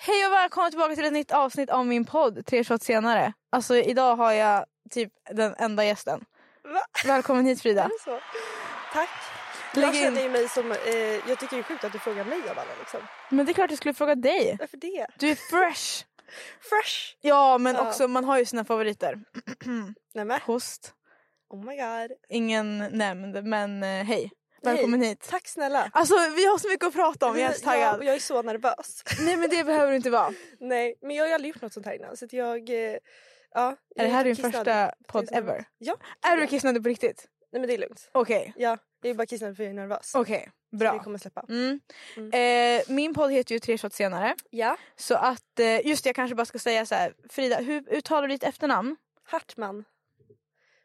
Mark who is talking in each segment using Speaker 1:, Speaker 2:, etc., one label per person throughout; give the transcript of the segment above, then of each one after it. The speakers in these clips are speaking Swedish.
Speaker 1: Hej och välkomna tillbaka till ett nytt avsnitt av min podd, Tre shots senare. Alltså idag har jag typ den enda gästen.
Speaker 2: Va?
Speaker 1: Välkommen hit Frida.
Speaker 2: Så. Tack.
Speaker 1: Lägg
Speaker 2: Jag
Speaker 1: in.
Speaker 2: känner ju mig som... Eh, jag tycker det är sjukt att du frågar mig av alla. Liksom.
Speaker 1: Men det är klart jag skulle fråga dig.
Speaker 2: Varför det?
Speaker 1: Du är fresh.
Speaker 2: Fresh!
Speaker 1: Ja men
Speaker 2: Ja.
Speaker 1: också man har ju sina favoriter.
Speaker 2: Nämen.
Speaker 1: Host,
Speaker 2: Oh my god.
Speaker 1: ingen nämnd men eh, hej. Välkommen
Speaker 2: Hej.
Speaker 1: hit.
Speaker 2: Tack snälla.
Speaker 1: Alltså vi har så mycket att prata om, jag är så
Speaker 2: Ja,
Speaker 1: taggad.
Speaker 2: och jag är så nervös.
Speaker 1: Nej men det behöver du inte vara.
Speaker 2: Nej, men jag har ju aldrig gjort något sånt här innan. Så att jag... Eh, ja, jag
Speaker 1: Är det här din
Speaker 2: lite kissnödig.
Speaker 1: första podd ever?
Speaker 2: Ja.
Speaker 1: Är du kissnödig på riktigt?
Speaker 2: Nej men det är lugnt.
Speaker 1: Okej,
Speaker 2: Ja, jag är bara kissnödig för jag är nervös.
Speaker 1: okej.
Speaker 2: Så
Speaker 1: Bra.
Speaker 2: det kommer släppa.
Speaker 1: Mm. Eh, min podd heter ju Tre shots senare.
Speaker 2: Ja.
Speaker 1: Så att, eh, just det jag kanske bara ska säga så här. Frida, hur uttalar du ditt efternamn?
Speaker 2: Hartman.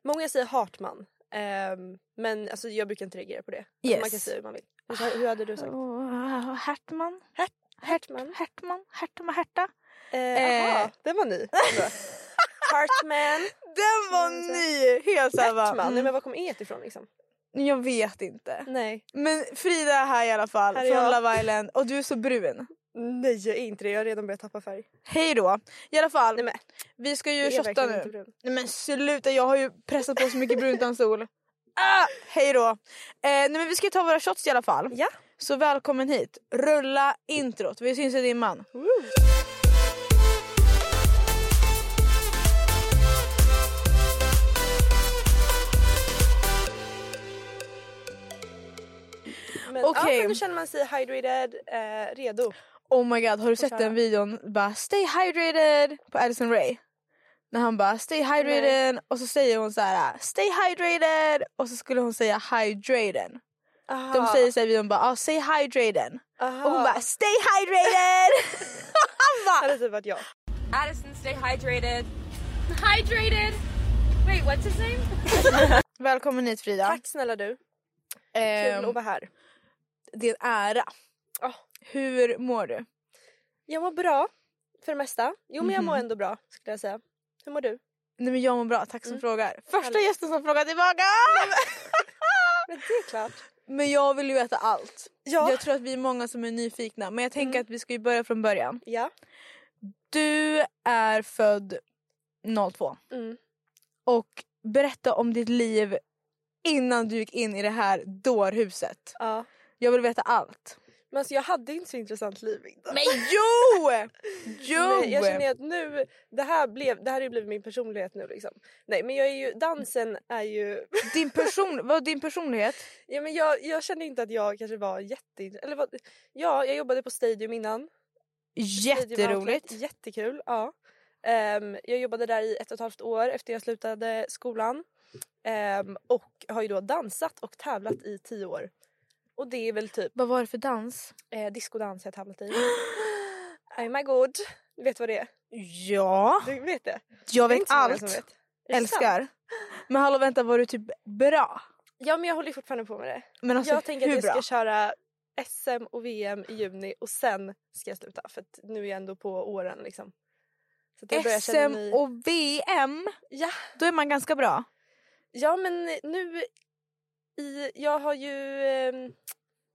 Speaker 2: Många säger Hartman. ehm, men alltså, jag brukar inte reagera på det. Alltså,
Speaker 1: Yes.
Speaker 2: Man kan säga hur man vill. Hur, hur hade du sagt?
Speaker 1: Oh, Hertman?
Speaker 2: Hert-
Speaker 1: Hertman?
Speaker 2: Hertman?
Speaker 1: Hertman? Hertman? Herta?
Speaker 2: Eh, aha,
Speaker 1: Eh.
Speaker 2: den var Alltså. ny. Hartman.
Speaker 1: Den var
Speaker 2: Mm, så.
Speaker 1: ny! Helt såhär bara...
Speaker 2: Hartman. Nej,
Speaker 1: mm,
Speaker 2: men var kom E ifrån liksom?
Speaker 1: Jag vet inte.
Speaker 2: Nej.
Speaker 1: Men Frida är här i alla fall,
Speaker 2: Här är
Speaker 1: från
Speaker 2: jag.
Speaker 1: Love Island. Och du är så brun.
Speaker 2: Nej jag är inte det, jag har redan börjat tappa färg.
Speaker 1: Hej då! I alla fall,
Speaker 2: Nej men
Speaker 1: vi ska
Speaker 2: jag
Speaker 1: ju
Speaker 2: är
Speaker 1: shotta
Speaker 2: verkligen
Speaker 1: nu.
Speaker 2: inte brun.
Speaker 1: Nej men sluta, jag har ju pressat på så mycket brunt utan sol. Ah, hej då! Eh, nej men vi ska ta våra shots i alla fall.
Speaker 2: Ja.
Speaker 1: Så välkommen hit. Rulla introt. Vi syns i dimman.
Speaker 2: Men,
Speaker 1: Okej.
Speaker 2: ja, men då känner man sig hydrated, eh, redo.
Speaker 1: Oh my god, har du sett
Speaker 2: köra.
Speaker 1: den videon? Bara stay hydrated på Addison Ray. När han bara stay hydrated och så säger hon så här stay hydrated och så skulle hon säga hydrated.
Speaker 2: Aha.
Speaker 1: De säger så här i videon bara ah, say hydrated.
Speaker 2: Aha.
Speaker 1: Och hon bara stay hydrated. han
Speaker 2: Det
Speaker 1: bara
Speaker 2: hade typ varit jag.
Speaker 3: Addison, stay hydrated. Hydrated. Wait, what's his name?
Speaker 1: Välkommen hit Frida.
Speaker 2: Tack snälla du, kul att
Speaker 1: Ehm,
Speaker 2: vara här. Ah.
Speaker 1: det är en ära. Hur mår du?
Speaker 2: Jag mår bra, för det mesta. Jo men
Speaker 1: Mhm.
Speaker 2: jag mår ändå bra skulle jag säga. Hur mår du?
Speaker 1: Nej men jag mår bra, tack som frågar. Första
Speaker 2: Mm. Härligt.
Speaker 1: gästen som frågar tillbaka!
Speaker 2: Men det är klart.
Speaker 1: men jag vill ju veta allt.
Speaker 2: Ja. Mm.
Speaker 1: Jag tror att vi är många som är nyfikna men jag tänker att vi ska ju börja från början.
Speaker 2: Ja.
Speaker 1: Du är född 02
Speaker 2: Mm.
Speaker 1: och berätta om ditt liv innan du gick in i det här dårhuset.
Speaker 2: ja.
Speaker 1: Jag vill veta allt.
Speaker 2: Men alltså jag hade inte så intressant liv innan.
Speaker 1: Men jo! jo!
Speaker 2: Nej, jag känner att nu, det här, blev, det här har ju blivit min personlighet nu liksom. Nej men jag är ju, dansen är ju...
Speaker 1: Din, person, vad, din personlighet?
Speaker 2: Ja, men jag, jag kände inte att jag kanske var jätte... Eller vad, ja, jag jobbade på Stadium innan. Stadium Outlet,
Speaker 1: Jätteroligt.
Speaker 2: Jättekul, ja. Ehm, jag jobbade där i ett och ett halvt år efter jag slutade skolan. Ehm, och har ju då dansat och tävlat i tio år. Och det är väl typ
Speaker 1: Vad var det för dans?
Speaker 2: eh, discodans jag tävlat i. Oh my god! Du vet vad det är?
Speaker 1: Ja.
Speaker 2: Du vet det?
Speaker 1: Jag
Speaker 2: Det är
Speaker 1: vet
Speaker 2: inte så många
Speaker 1: allt.
Speaker 2: som vet. Är det sant?
Speaker 1: Älskar. Men hallå vänta var du typ bra?
Speaker 2: Ja men jag håller ju fortfarande på med det.
Speaker 1: Men alltså
Speaker 2: jag tänker
Speaker 1: hur
Speaker 2: att jag
Speaker 1: bra?
Speaker 2: ska köra SM och VM i juni och sen ska jag sluta för att nu är jag ändå på åren liksom. Så att jag börjar känna mig-
Speaker 1: SM och VM,
Speaker 2: Ja,
Speaker 1: då är man ganska bra.
Speaker 2: ja men nu i, jag har ju, ehm,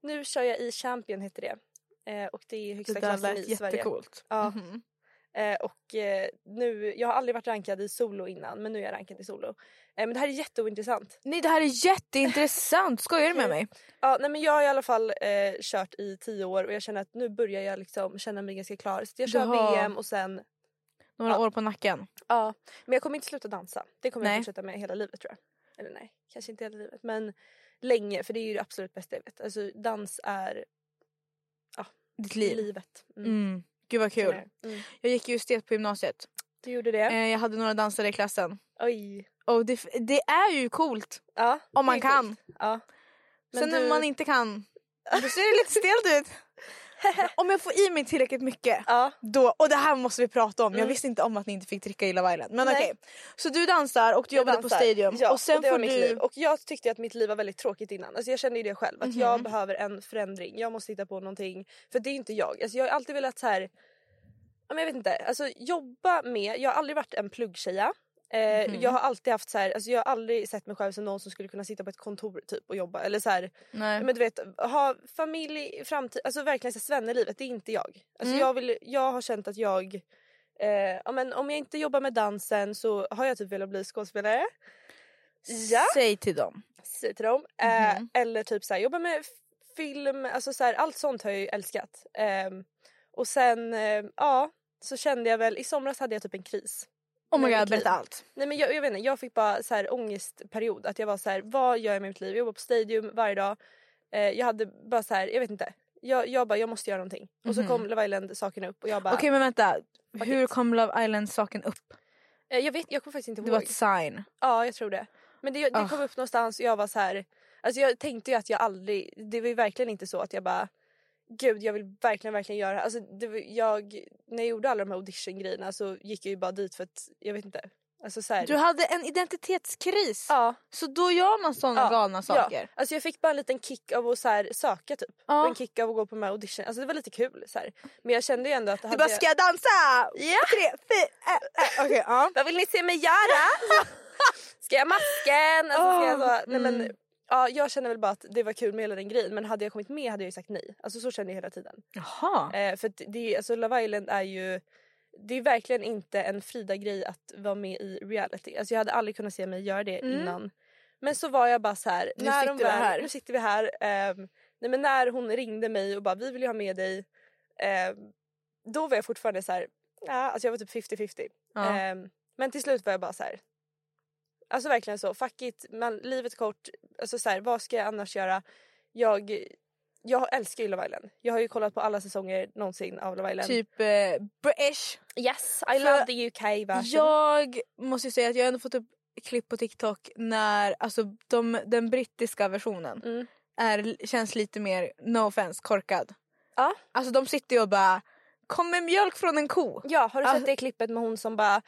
Speaker 2: nu kör jag i Champion heter det. Eh, och det är högsta klassen i Sverige. Ja.
Speaker 1: Mhm.
Speaker 2: Eh, och eh, nu, jag har aldrig varit rankad i solo innan men nu är jag rankad i solo. Eh, men det här är jätteointressant.
Speaker 1: Nej det här är jätteintressant, skojar du med mig?
Speaker 2: Ja, nej men jag har i alla fall eh, kört i tio år och jag känner att nu börjar jag liksom känna mig ganska klar. Så jag
Speaker 1: Du
Speaker 2: kör
Speaker 1: har-
Speaker 2: VM och sen...
Speaker 1: Några
Speaker 2: Ja.
Speaker 1: år på nacken.
Speaker 2: Ja, men jag kommer inte sluta dansa. Det kommer
Speaker 1: Nej.
Speaker 2: jag fortsätta med hela livet tror jag. Eller nej, kanske inte hela livet men länge för det är ju det absolut bästa jag vet. Alltså dans är
Speaker 1: Ditt liv.
Speaker 2: livet. Mm.
Speaker 1: Mm. Gud vad
Speaker 2: Så
Speaker 1: kul.
Speaker 2: är det. Mm.
Speaker 1: Jag gick ju estet på gymnasiet.
Speaker 2: Du gjorde det?
Speaker 1: Eh, jag hade några dansare i klassen.
Speaker 2: Oj.
Speaker 1: Och det, f- det är ju coolt
Speaker 2: Ja,
Speaker 1: om
Speaker 2: det
Speaker 1: man
Speaker 2: är
Speaker 1: kan.
Speaker 2: coolt. Ja. Men
Speaker 1: Sen
Speaker 2: du-
Speaker 1: när man inte kan, då ser det lite stelt ut. Om jag får i mig tillräckligt mycket,
Speaker 2: Ja.
Speaker 1: då, och det här måste vi prata om. Jag visste inte om att ni inte fick dricka Illa Island. Men
Speaker 2: Mm. Nej.
Speaker 1: okej. Så du dansar och du jobbade på
Speaker 2: dansar.
Speaker 1: Stadium.
Speaker 2: Ja,
Speaker 1: och sen
Speaker 2: det
Speaker 1: får
Speaker 2: var mitt
Speaker 1: du...
Speaker 2: liv. Och jag tyckte att mitt liv var väldigt tråkigt innan. Alltså jag kände ju det själv. Att
Speaker 1: Mhm.
Speaker 2: jag behöver en förändring. Jag måste hitta på någonting. För det är inte jag. Alltså jag har alltid velat så här. ja, men Jag vet inte. Alltså jobba med. Jag har aldrig varit en pluggtjeja. Eh,
Speaker 1: Mhm.
Speaker 2: Jag har alltid haft så här, alltså jag har aldrig sett mig själv som någon som skulle kunna sitta på ett kontor typ och jobba eller så här,
Speaker 1: Nej.
Speaker 2: men du vet ha familj, framtid, alltså verkligen så här svennelivet det är inte jag. Alltså
Speaker 1: Mm.
Speaker 2: jag, vill, jag har känt att jag, eh, ja, men om jag inte jobbar med dansen så har jag typ velat bli skådespelare. Ja,
Speaker 1: Säg till dem.
Speaker 2: säger till dem. Eh,
Speaker 1: Mhm.
Speaker 2: Eller typ så här, jobba med f- film, alltså så här, allt sånt har jag ju älskat. Eh, och sen, eh, ja, så kände jag väl, i somras hade jag typ en kris.
Speaker 1: Oh my
Speaker 2: Men
Speaker 1: god,
Speaker 2: mitt liv.
Speaker 1: berätta allt.
Speaker 2: Nej men jag, jag vet inte, jag fick bara så här ångestperiod. Att jag var så här, vad gör jag med mitt liv? Jag jobbar på Stadium varje dag. Eh, jag hade bara så här, jag vet inte. Jag, jag bara, jag måste göra någonting. Och så kom Love Island-saken upp och jag bara,
Speaker 1: Mhm. Okej men vänta. Hur kom Love Island saken upp?
Speaker 2: eh, jag vet, jag kommer faktiskt inte
Speaker 1: Det
Speaker 2: ihåg.
Speaker 1: var Ah. ett sign.
Speaker 2: Ja, jag tror det. Men det, det kom upp någonstans och jag var så här, alltså jag tänkte ju att jag aldrig, det var ju verkligen inte så att jag bara Gud jag vill verkligen verkligen göra det här." alltså, det. Var, jag, när jag gjorde alla de här audition-grejerna så gick jag ju bara dit för att jag vet inte. Alltså så här,
Speaker 1: Du hade en identitetskris.
Speaker 2: ja.
Speaker 1: Så då gör man sådana
Speaker 2: Ja,
Speaker 1: galna saker.
Speaker 2: Ja. Alltså jag fick bara en liten kick av att så här söka typ.
Speaker 1: Ja.
Speaker 2: Och en kick av att gå på de här audition. Alltså det var lite kul så här. Men jag kände ju ändå att...
Speaker 1: Du bara ska jag dansa?
Speaker 2: Ja.
Speaker 1: Tre, fyra, äh, äh. Okej ja.
Speaker 2: Vad vill ni se mig göra? ska jag masken? Alltså, ska jag så... Nej,
Speaker 1: mm.
Speaker 2: men, ja, jag kände väl bara att det var kul med hela den grejen men hade jag kommit med hade jag ju sagt nej. Alltså så kände jag hela tiden.
Speaker 1: Jaha.
Speaker 2: Eh, för att det, alltså, Love Island är ju det är verkligen inte en Frida-grej att vara med i reality. Alltså, jag hade aldrig kunnat se mig göra det innan. Men så var jag bara så här,
Speaker 1: Mm. Nu
Speaker 2: när
Speaker 1: sitter
Speaker 2: de
Speaker 1: vi
Speaker 2: väl,
Speaker 1: här.
Speaker 2: nu sitter vi här. ehm, nej, men när hon ringde mig och bara vi vill ju ha med dig. ehm, då var jag fortfarande så här, ja, alltså jag var typ 50-50.
Speaker 1: Ja.
Speaker 2: Ehm, men till slut var jag bara så här. Alltså verkligen så, fuck it, man, livet är kort. Alltså så här, vad ska jag annars göra? Jag, jag älskar ju Love Island. Jag har ju kollat på alla säsonger någonsin av Love Island.
Speaker 1: Typ eh, British.
Speaker 2: Yes, I
Speaker 1: För-
Speaker 2: love the UK version.
Speaker 1: Jag måste ju säga att jag har ändå fått upp klipp på TikTok när alltså, de, den brittiska versionen
Speaker 2: Mm.
Speaker 1: är, känns lite mer, no offense, korkad.
Speaker 2: Ja.
Speaker 1: Alltså de sitter ju och bara kommer mjölk från en ko?
Speaker 2: Ja, har du sett
Speaker 1: Alltså-
Speaker 2: det klippet med hon som bara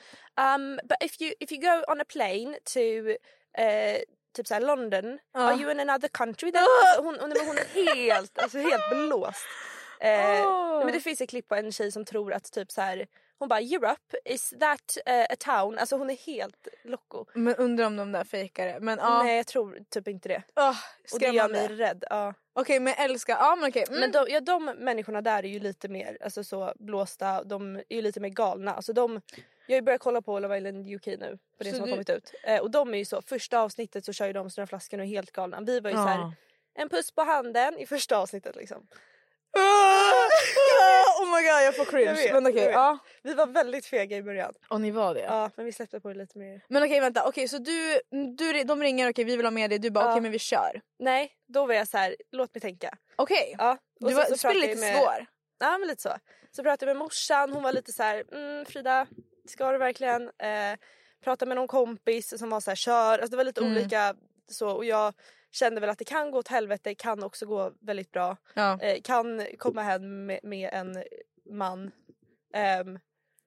Speaker 2: um, but if you, if you go on a plane to eh, typ såhär London,
Speaker 1: Ja.
Speaker 2: are you in another country then? Alltså, hon, hon, men hon är helt, alltså helt blåst. Eh,
Speaker 1: Åh.
Speaker 2: men det finns ett klipp på en tjej som tror att typ så här, hon bara Europe, is that eh, a town? Alltså hon är helt loco.
Speaker 1: Men undrar om de där fejkar det. Men ja,
Speaker 2: Nej jag tror typ inte det.
Speaker 1: Åh,
Speaker 2: Och det gör mig
Speaker 1: skrämmande.
Speaker 2: rädd. Ja.
Speaker 1: Okej men älska, ja men okej. Mm.
Speaker 2: Men de, ja, de människorna där är ju lite mer alltså, så blåsta, de är ju lite mer galna. Alltså, de, jag har ju börjat kolla på Love Island UK nu, på det
Speaker 1: Så
Speaker 2: som
Speaker 1: du-
Speaker 2: har kommit ut. Eh, och de är ju så, första avsnittet så kör ju de sina flaskor och är helt galna. Vi var ju så
Speaker 1: Ja.
Speaker 2: här, en puss på handen i första avsnittet liksom.
Speaker 1: Ah! oh my god jag får cringe.
Speaker 2: Jag vet,
Speaker 1: men okej,
Speaker 2: jag vet.
Speaker 1: ja.
Speaker 2: Vi var väldigt fega i början.
Speaker 1: Och ni var det?
Speaker 2: Ja, men vi släppte på det lite mer.
Speaker 1: Men okej vänta, okej så du, du, de ringer okej vi vill ha med dig, du bara
Speaker 2: Ja.
Speaker 1: okej men vi kör.
Speaker 2: Nej, då var jag så här, låt mig tänka.
Speaker 1: Okej.
Speaker 2: Ja, och
Speaker 1: Du
Speaker 2: sen
Speaker 1: var,
Speaker 2: så
Speaker 1: du spelar
Speaker 2: pratade jag
Speaker 1: lite
Speaker 2: med-
Speaker 1: svår.
Speaker 2: Ja men lite så. Så pratade jag med morsan, hon var lite så här, mm, Frida ska du verkligen? Eh, pratade med någon kompis som var så här kör, alltså det var lite olika så och jag kände väl att det kan gå åt helvete, kan också gå väldigt bra.
Speaker 1: Ja.
Speaker 2: Eh, kan komma hem med, med en man. Ehm,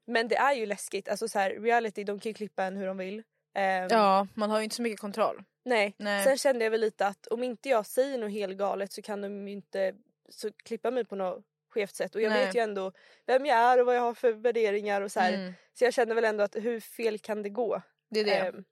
Speaker 2: men det är ju läskigt, alltså så här, reality de kan ju klippa en hur de vill. Ehm,
Speaker 1: Ja, man har ju inte så mycket kontroll.
Speaker 2: Nej.
Speaker 1: Nej.
Speaker 2: Sen kände jag väl lite att om inte jag säger något helt galet så kan de ju inte så klippa mig på något skevt sätt. Och jag
Speaker 1: Nej. Mm.
Speaker 2: vet ju ändå vem jag är och vad jag har för värderingar och så här. Så jag kände väl ändå att hur fel kan det gå?
Speaker 1: Det är det.
Speaker 2: Ehm,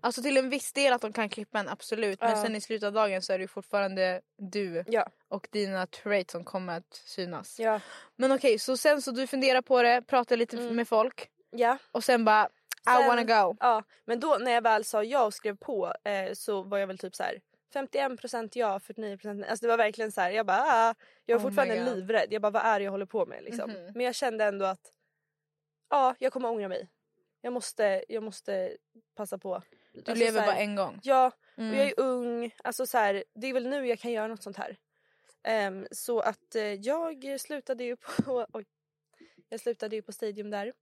Speaker 1: Alltså till en viss del att de kan klippa en absolut men
Speaker 2: Ja.
Speaker 1: sen i slutet av dagen så är det ju fortfarande du
Speaker 2: ja.
Speaker 1: och dina traits som kommer att synas.
Speaker 2: Ja.
Speaker 1: Men okej, så sen så du funderar på det, pratar lite med folk
Speaker 2: ja.
Speaker 1: och sen bara I
Speaker 2: Mm. Sen-
Speaker 1: wanna go.
Speaker 2: Ja. Men då när jag väl sa ja och skrev på eh, så var jag väl typ så här 51% ja, 49% nej. Alltså det var verkligen så här, jag bara ah. Jag var
Speaker 1: Oh my
Speaker 2: fortfarande
Speaker 1: God. Mhm.
Speaker 2: livrädd. Jag bara vad är det jag håller på med liksom. Men jag kände ändå att ja, jag kommer ångra mig. Jag måste, jag måste passa på. Alltså
Speaker 1: Du lever bara en gång.
Speaker 2: Ja,
Speaker 1: Mm.
Speaker 2: och jag är ung. Alltså så här, det är väl nu jag kan göra något sånt här. Ehm, så att eh, jag slutade ju på... Oj. Jag slutade ju på Stadium där.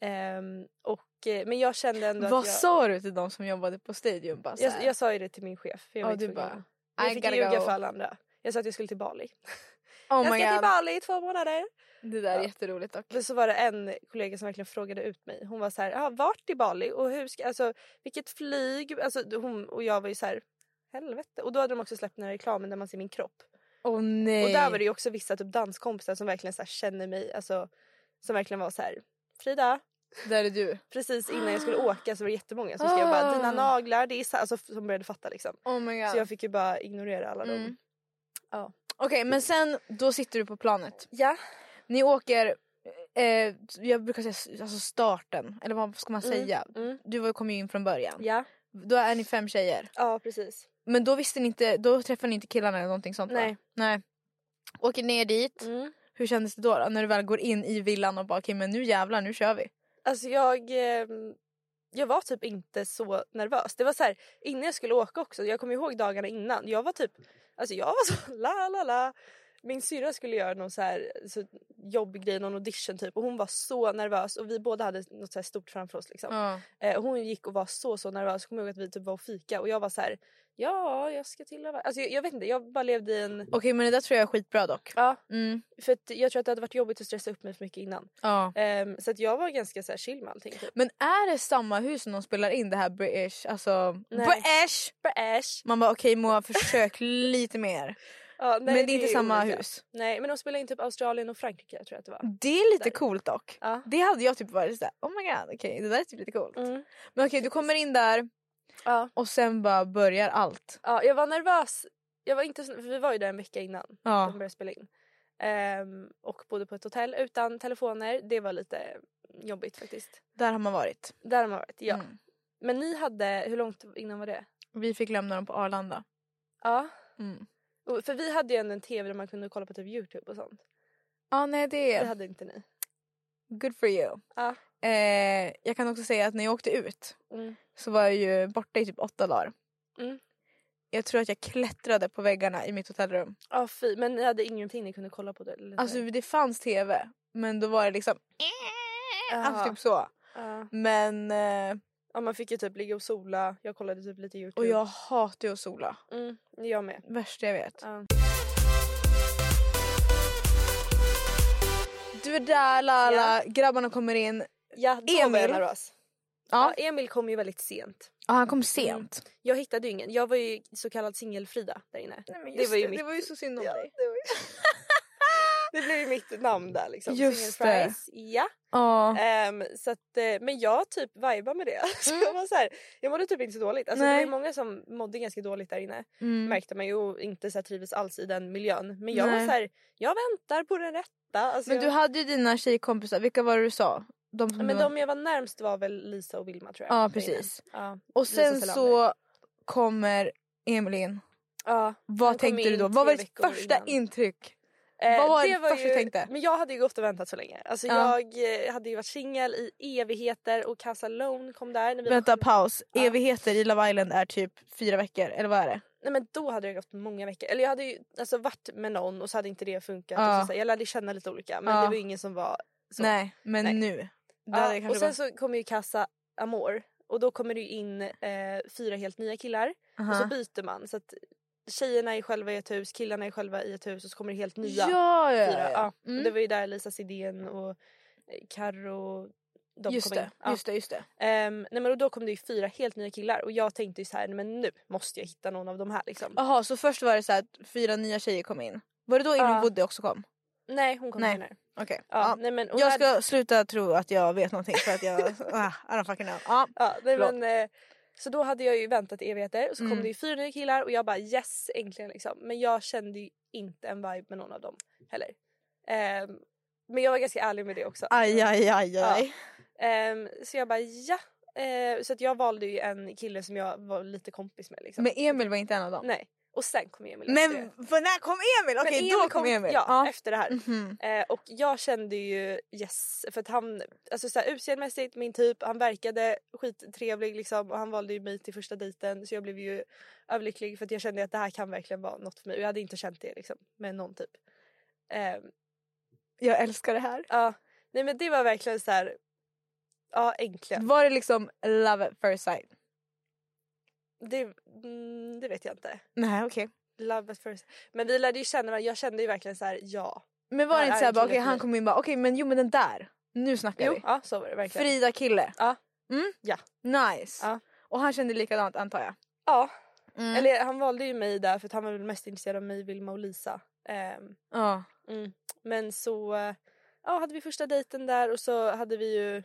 Speaker 2: Ehm, och, eh, men jag kände ändå
Speaker 1: Vad
Speaker 2: att jag...
Speaker 1: sa du till de som jobbade på Stadium? Bara, så här,
Speaker 2: Jag, jag sa ju det till min chef. För jag
Speaker 1: Ja,
Speaker 2: var ju
Speaker 1: du
Speaker 2: tvungen.
Speaker 1: bara,
Speaker 2: Men jag
Speaker 1: I
Speaker 2: fick
Speaker 1: gotta
Speaker 2: ljuga
Speaker 1: go.
Speaker 2: för alla andra. Jag sa att jag skulle till Bali.
Speaker 1: Oh
Speaker 2: jag
Speaker 1: my
Speaker 2: ska till
Speaker 1: god.
Speaker 2: Bali i två månader.
Speaker 1: Det där är jätteroligt dock.
Speaker 2: Men så var det en kollega som verkligen frågade ut mig. Hon var så här, ah, vart i Bali och hur ska, alltså vilket flyg? Alltså hon och jag var ju så här, helvete. Och då hade de också släppt den här reklamen där man ser min kropp.
Speaker 1: Åh nej.
Speaker 2: Och där var det ju också vissa typ danskompisar som verkligen så här känner mig, alltså som verkligen var så här, Frida,
Speaker 1: Där är du.
Speaker 2: precis innan jag skulle åka så var det jättemånga som skrev bara dina
Speaker 1: Ah.
Speaker 2: naglar, det är så, alltså som började fatta liksom.
Speaker 1: Oh my god.
Speaker 2: Så jag fick ju bara ignorera alla dem.
Speaker 1: Mm.
Speaker 2: Ja.
Speaker 1: Okej men sen då sitter du på planet.
Speaker 2: Ja.
Speaker 1: Ni åker, eh, jag brukar säga s- alltså starten, eller vad ska man säga?
Speaker 2: Mm.
Speaker 1: Du var- kom ju in från början.
Speaker 2: Ja.
Speaker 1: Då är ni fem tjejer.
Speaker 2: Ja precis.
Speaker 1: Men då visste ni inte, då träffade ni inte killarna eller någonting sånt
Speaker 2: Nej.
Speaker 1: va? Nej. Åker ner dit,
Speaker 2: Mm.
Speaker 1: hur kändes det då, då? När du väl går in i villan och bara okej men nu jävlar nu kör vi.
Speaker 2: Alltså jag, eh, jag var typ inte så nervös. Det var så här, innan jag skulle åka också, jag kommer ihåg dagarna innan. Jag var typ, alltså jag var så la la la. Min syrra skulle göra någon så här så jobbgrej, någon audition typ och hon var så nervös och vi båda hade något så här stort framför oss liksom.
Speaker 1: Ja.
Speaker 2: Eh, hon gick och var så så nervös. Jag kommer ihåg att vi typ var och fika och jag var så här, ja jag ska till Hawaii." Alltså jag, jag vet inte, jag bara levde i en...
Speaker 1: Okej men det där tror jag är skitbra dock.
Speaker 2: Ja,
Speaker 1: Mm.
Speaker 2: för att jag tror att det hade varit jobbigt att stressa upp mig för mycket innan.
Speaker 1: Ja.
Speaker 2: Ehm, så att jag var ganska så här chill med allting. Typ.
Speaker 1: Men är det samma hus som de spelar in det här British, alltså
Speaker 2: Nej.
Speaker 1: British?
Speaker 2: Brash.
Speaker 1: Man bara okej Moa försök lite mer.
Speaker 2: Ja, nej,
Speaker 1: men det är inte
Speaker 2: ju
Speaker 1: samma
Speaker 2: olika.
Speaker 1: hus. Mm.
Speaker 2: Nej men de spelar in typ Australien och Frankrike tror jag att det var.
Speaker 1: Det är lite
Speaker 2: Där.
Speaker 1: coolt dock.
Speaker 2: Ja.
Speaker 1: Det hade jag typ varit såhär, oh my god, okej det där är typ lite coolt.
Speaker 2: Mm.
Speaker 1: Men okej du kommer in där
Speaker 2: Ja.
Speaker 1: och sen bara börjar allt.
Speaker 2: ja jag var nervös. Jag var inte, så- för vi var ju där en vecka innan de
Speaker 1: Ja.
Speaker 2: började spela in. Ehm, och bodde på ett hotell utan telefoner. Det var lite jobbigt faktiskt.
Speaker 1: Där har man varit.
Speaker 2: Där har man varit ja.
Speaker 1: Mm.
Speaker 2: Men ni hade, hur långt innan var det?
Speaker 1: Vi fick lämna dem på Arlanda.
Speaker 2: Ja.
Speaker 1: Mm.
Speaker 2: Och- För vi hade ju ändå en tv där man kunde kolla på typ youtube och sånt.
Speaker 1: Ja nej det
Speaker 2: Det
Speaker 1: är
Speaker 2: hade inte ni.
Speaker 1: good for you.
Speaker 2: Ja.
Speaker 1: Eh, jag kan också säga att när jag åkte ut
Speaker 2: Mm.
Speaker 1: så var jag ju borta i typ åtta dagar.
Speaker 2: Mm.
Speaker 1: Jag tror att jag klättrade på väggarna i mitt hotellrum.
Speaker 2: Ja fy men ni hade ingenting ni kunde kolla på? Det, eller?
Speaker 1: Alltså det fanns tv men då var det liksom alltså, typ så.
Speaker 2: ja.
Speaker 1: Men eh,
Speaker 2: ja man fick ju typ ligga och sola. Jag kollade typ lite youtube.
Speaker 1: och jag hatar ju att sola.
Speaker 2: Mm, jag med.
Speaker 1: Värsta jag vet.
Speaker 2: Ja.
Speaker 1: Du är där Lala, grabbarna kommer in.
Speaker 2: Ja, då var jag
Speaker 1: Emil.
Speaker 2: nervös.
Speaker 1: Ja.
Speaker 2: Ja. Emil kom ju väldigt sent.
Speaker 1: Ja han kom sent.
Speaker 2: Jag hittade ju ingen. Jag var ju så kallad singelfrida där inne.
Speaker 1: det, var ju
Speaker 2: mitt-
Speaker 1: det var ju så synd om
Speaker 2: Ja,
Speaker 1: dig.
Speaker 2: det, var ju... det blev ju mitt namn där liksom.
Speaker 1: Just
Speaker 2: Single
Speaker 1: det.
Speaker 2: Fries. Ja.
Speaker 1: Ja.
Speaker 2: Ehm, så att, eh, men jag typ vibar med det. Så jag, var så här, jag mådde typ inte så dåligt. Alltså, det var
Speaker 1: Mm. Nej.
Speaker 2: ju många som mådde ganska dåligt där inne.
Speaker 1: Mm.
Speaker 2: Märkte man ju och inte så här, trivdes alls i den miljön. Men jag var
Speaker 1: Nej.
Speaker 2: så här, jag väntar på den rätta. Alltså,
Speaker 1: Men du
Speaker 2: jag...
Speaker 1: hade ju dina tjejkompisar, vilka var det du sa? De som
Speaker 2: men
Speaker 1: du var...
Speaker 2: de jag var närmst var väl Lisa och Vilma tror jag.
Speaker 1: Ja
Speaker 2: där inne.
Speaker 1: precis.
Speaker 2: Ja.
Speaker 1: Och
Speaker 2: Lisa
Speaker 1: sen
Speaker 2: Selander.
Speaker 1: så kommer Emil in.
Speaker 2: Ja.
Speaker 1: Vad
Speaker 2: Han kom
Speaker 1: tänkte du
Speaker 2: in
Speaker 1: då? Vad
Speaker 2: tre
Speaker 1: var ditt
Speaker 2: veckor
Speaker 1: första
Speaker 2: innan.
Speaker 1: intryck?
Speaker 2: Eh,
Speaker 1: Vad var det första
Speaker 2: ju,
Speaker 1: du tänkte?
Speaker 2: Men jag hade ju gått och väntat så länge. Alltså
Speaker 1: Ja.
Speaker 2: jag eh, hade ju varit singel i evigheter och Casa Lone kom där. När vi
Speaker 1: Vänta
Speaker 2: var sju-
Speaker 1: paus,
Speaker 2: Ja.
Speaker 1: evigheter i Love Island är typ fyra veckor eller vad är det?
Speaker 2: Nej men då hade jag gått många veckor. Eller jag hade ju alltså, varit med någon och så hade inte det funkat.
Speaker 1: Ja.
Speaker 2: Och så, så här, jag lärde känna lite olika men
Speaker 1: Ja.
Speaker 2: det var ju ingen som var så.
Speaker 1: Nej men
Speaker 2: Nej.
Speaker 1: nu. Det hade jag
Speaker 2: Ja, och
Speaker 1: kanske
Speaker 2: sen så kommer ju Casa Amor och då kommer det ju in eh, fyra helt nya killar
Speaker 1: bara-
Speaker 2: och så
Speaker 1: Aha.
Speaker 2: byter man. Så att tjejerna är själva i ett hus, killarna är själva i ett hus och så kommer det helt nya.
Speaker 1: Ja, ja,
Speaker 2: fyra.
Speaker 1: ja.
Speaker 2: Ja. och
Speaker 1: Mm.
Speaker 2: Det var ju där Lisa Sidén och eh, Karo de
Speaker 1: just,
Speaker 2: kom in.
Speaker 1: det,
Speaker 2: Ja.
Speaker 1: just det, just det.
Speaker 2: Ehm, nej, men och då kom det ju fyra helt nya killar och jag tänkte ju så här, nej, men nu måste jag hitta någon av de här liksom.
Speaker 1: Jaha så först var det så här att fyra nya tjejer kom in. Var det då Ingrid
Speaker 2: Ja.
Speaker 1: Woody också kom?
Speaker 2: Nej hon kom
Speaker 1: Nej.
Speaker 2: senare.
Speaker 1: Okej.
Speaker 2: Ja,
Speaker 1: Ja.
Speaker 2: nej, men, hon
Speaker 1: Jag
Speaker 2: hade-
Speaker 1: ska sluta tro att jag vet någonting för att jag... ah, I don't fucking know. Ja.
Speaker 2: Ja, nej,
Speaker 1: Förlåt.
Speaker 2: men, eh, så då hade jag ju väntat i evigheter och så kom
Speaker 1: Mm.
Speaker 2: det ju fyra nya killar och jag bara yes äntligen liksom. Men jag kände ju inte en vibe med någon av dem heller. Ehm, men jag var ganska ärlig med det också.
Speaker 1: Aj aj aj aj.
Speaker 2: Ehm, så jag bara ja. Eh, så att jag valde ju en kille som jag var lite kompis med liksom.
Speaker 1: Men Emil var inte en av dem.
Speaker 2: Nej. Och sen kom Emil efter det.
Speaker 1: Men för när kom Emil?
Speaker 2: Men
Speaker 1: Okej då kom Emil.
Speaker 2: Ja,
Speaker 1: Ja.
Speaker 2: efter det här.
Speaker 1: Mhm.
Speaker 2: Eh, och jag kände ju yes för att han, alltså såhär utseendemässigt min typ, han verkade skittrevlig liksom och han valde ju mig till första dejten så jag blev ju överlycklig för att jag kände att det här kan verkligen vara något för mig och jag hade inte känt det liksom med någon typ. Eh,
Speaker 1: Jag älskar det här.
Speaker 2: ja, nej men det var verkligen så här. ja äntligen.
Speaker 1: Var det liksom love at first sight?
Speaker 2: Det, mm, det vet jag inte.
Speaker 1: Nej okej.
Speaker 2: Love at first. Men vi lärde ju känna varandra. Jag kände ju verkligen så här, ja.
Speaker 1: Men var
Speaker 2: Ja,
Speaker 1: det inte
Speaker 2: är
Speaker 1: såhär,
Speaker 2: en
Speaker 1: bara,
Speaker 2: kille
Speaker 1: okej
Speaker 2: för
Speaker 1: han
Speaker 2: mig.
Speaker 1: kom in bara, okej men jo men den där. Nu snackar
Speaker 2: Jo,
Speaker 1: vi.
Speaker 2: ja, så var det verkligen.
Speaker 1: Frida kille.
Speaker 2: Ja.
Speaker 1: Mm?
Speaker 2: Ja.
Speaker 1: Nice.
Speaker 2: Ja.
Speaker 1: Och han kände likadant antar jag.
Speaker 2: Ja,
Speaker 1: Mm.
Speaker 2: eller han valde ju mig där för att han var väl mest intresserad av mig, Vilma och Lisa. Ehm,
Speaker 1: Ja. Mm.
Speaker 2: men så eh, ja, hade vi första dejten där och så hade vi ju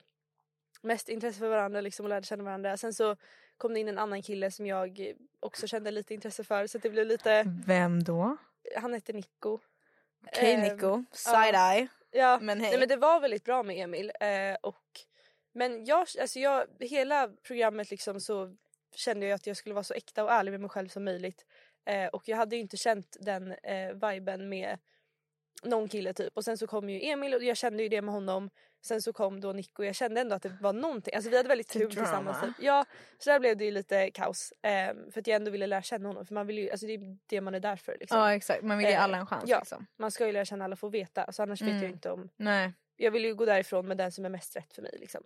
Speaker 2: mest intresse för varandra liksom och lärde känna varandra. Sen så kom det in en annan kille som jag också kände lite intresse för så att det blev lite,
Speaker 1: Vem då?
Speaker 2: han hette Nico.
Speaker 1: Okej
Speaker 2: Ehm,
Speaker 1: Nico, side-eye.
Speaker 2: Ja,
Speaker 1: Men hej.
Speaker 2: Nej, men det var väldigt bra med Emil. Eh, och, men jag, alltså jag, hela programmet liksom så kände jag att jag skulle vara så äkta och ärlig med mig själv som möjligt. Eh, och jag hade ju inte känt den eh, viben med någon kille typ. Och sen så kom ju Emil och jag kände ju det med honom. Sen så kom då Nick och jag kände ändå att det var någonting. Alltså vi hade väldigt
Speaker 1: The
Speaker 2: kul tillsammans.
Speaker 1: drama.
Speaker 2: Typ. Ja, så där blev det ju lite kaos. Eh, för att jag ändå ville lära känna honom. För man vill ju, alltså det är det man är där för liksom.
Speaker 1: Ja exakt, man vill ge
Speaker 2: Eh,
Speaker 1: alla en chans
Speaker 2: ja.
Speaker 1: liksom.
Speaker 2: Man ska ju lära känna alla och få veta. Alltså annars vet
Speaker 1: Mm.
Speaker 2: jag ju inte om
Speaker 1: Nej.
Speaker 2: jag vill ju gå därifrån med den som är mest rätt för mig. Liksom.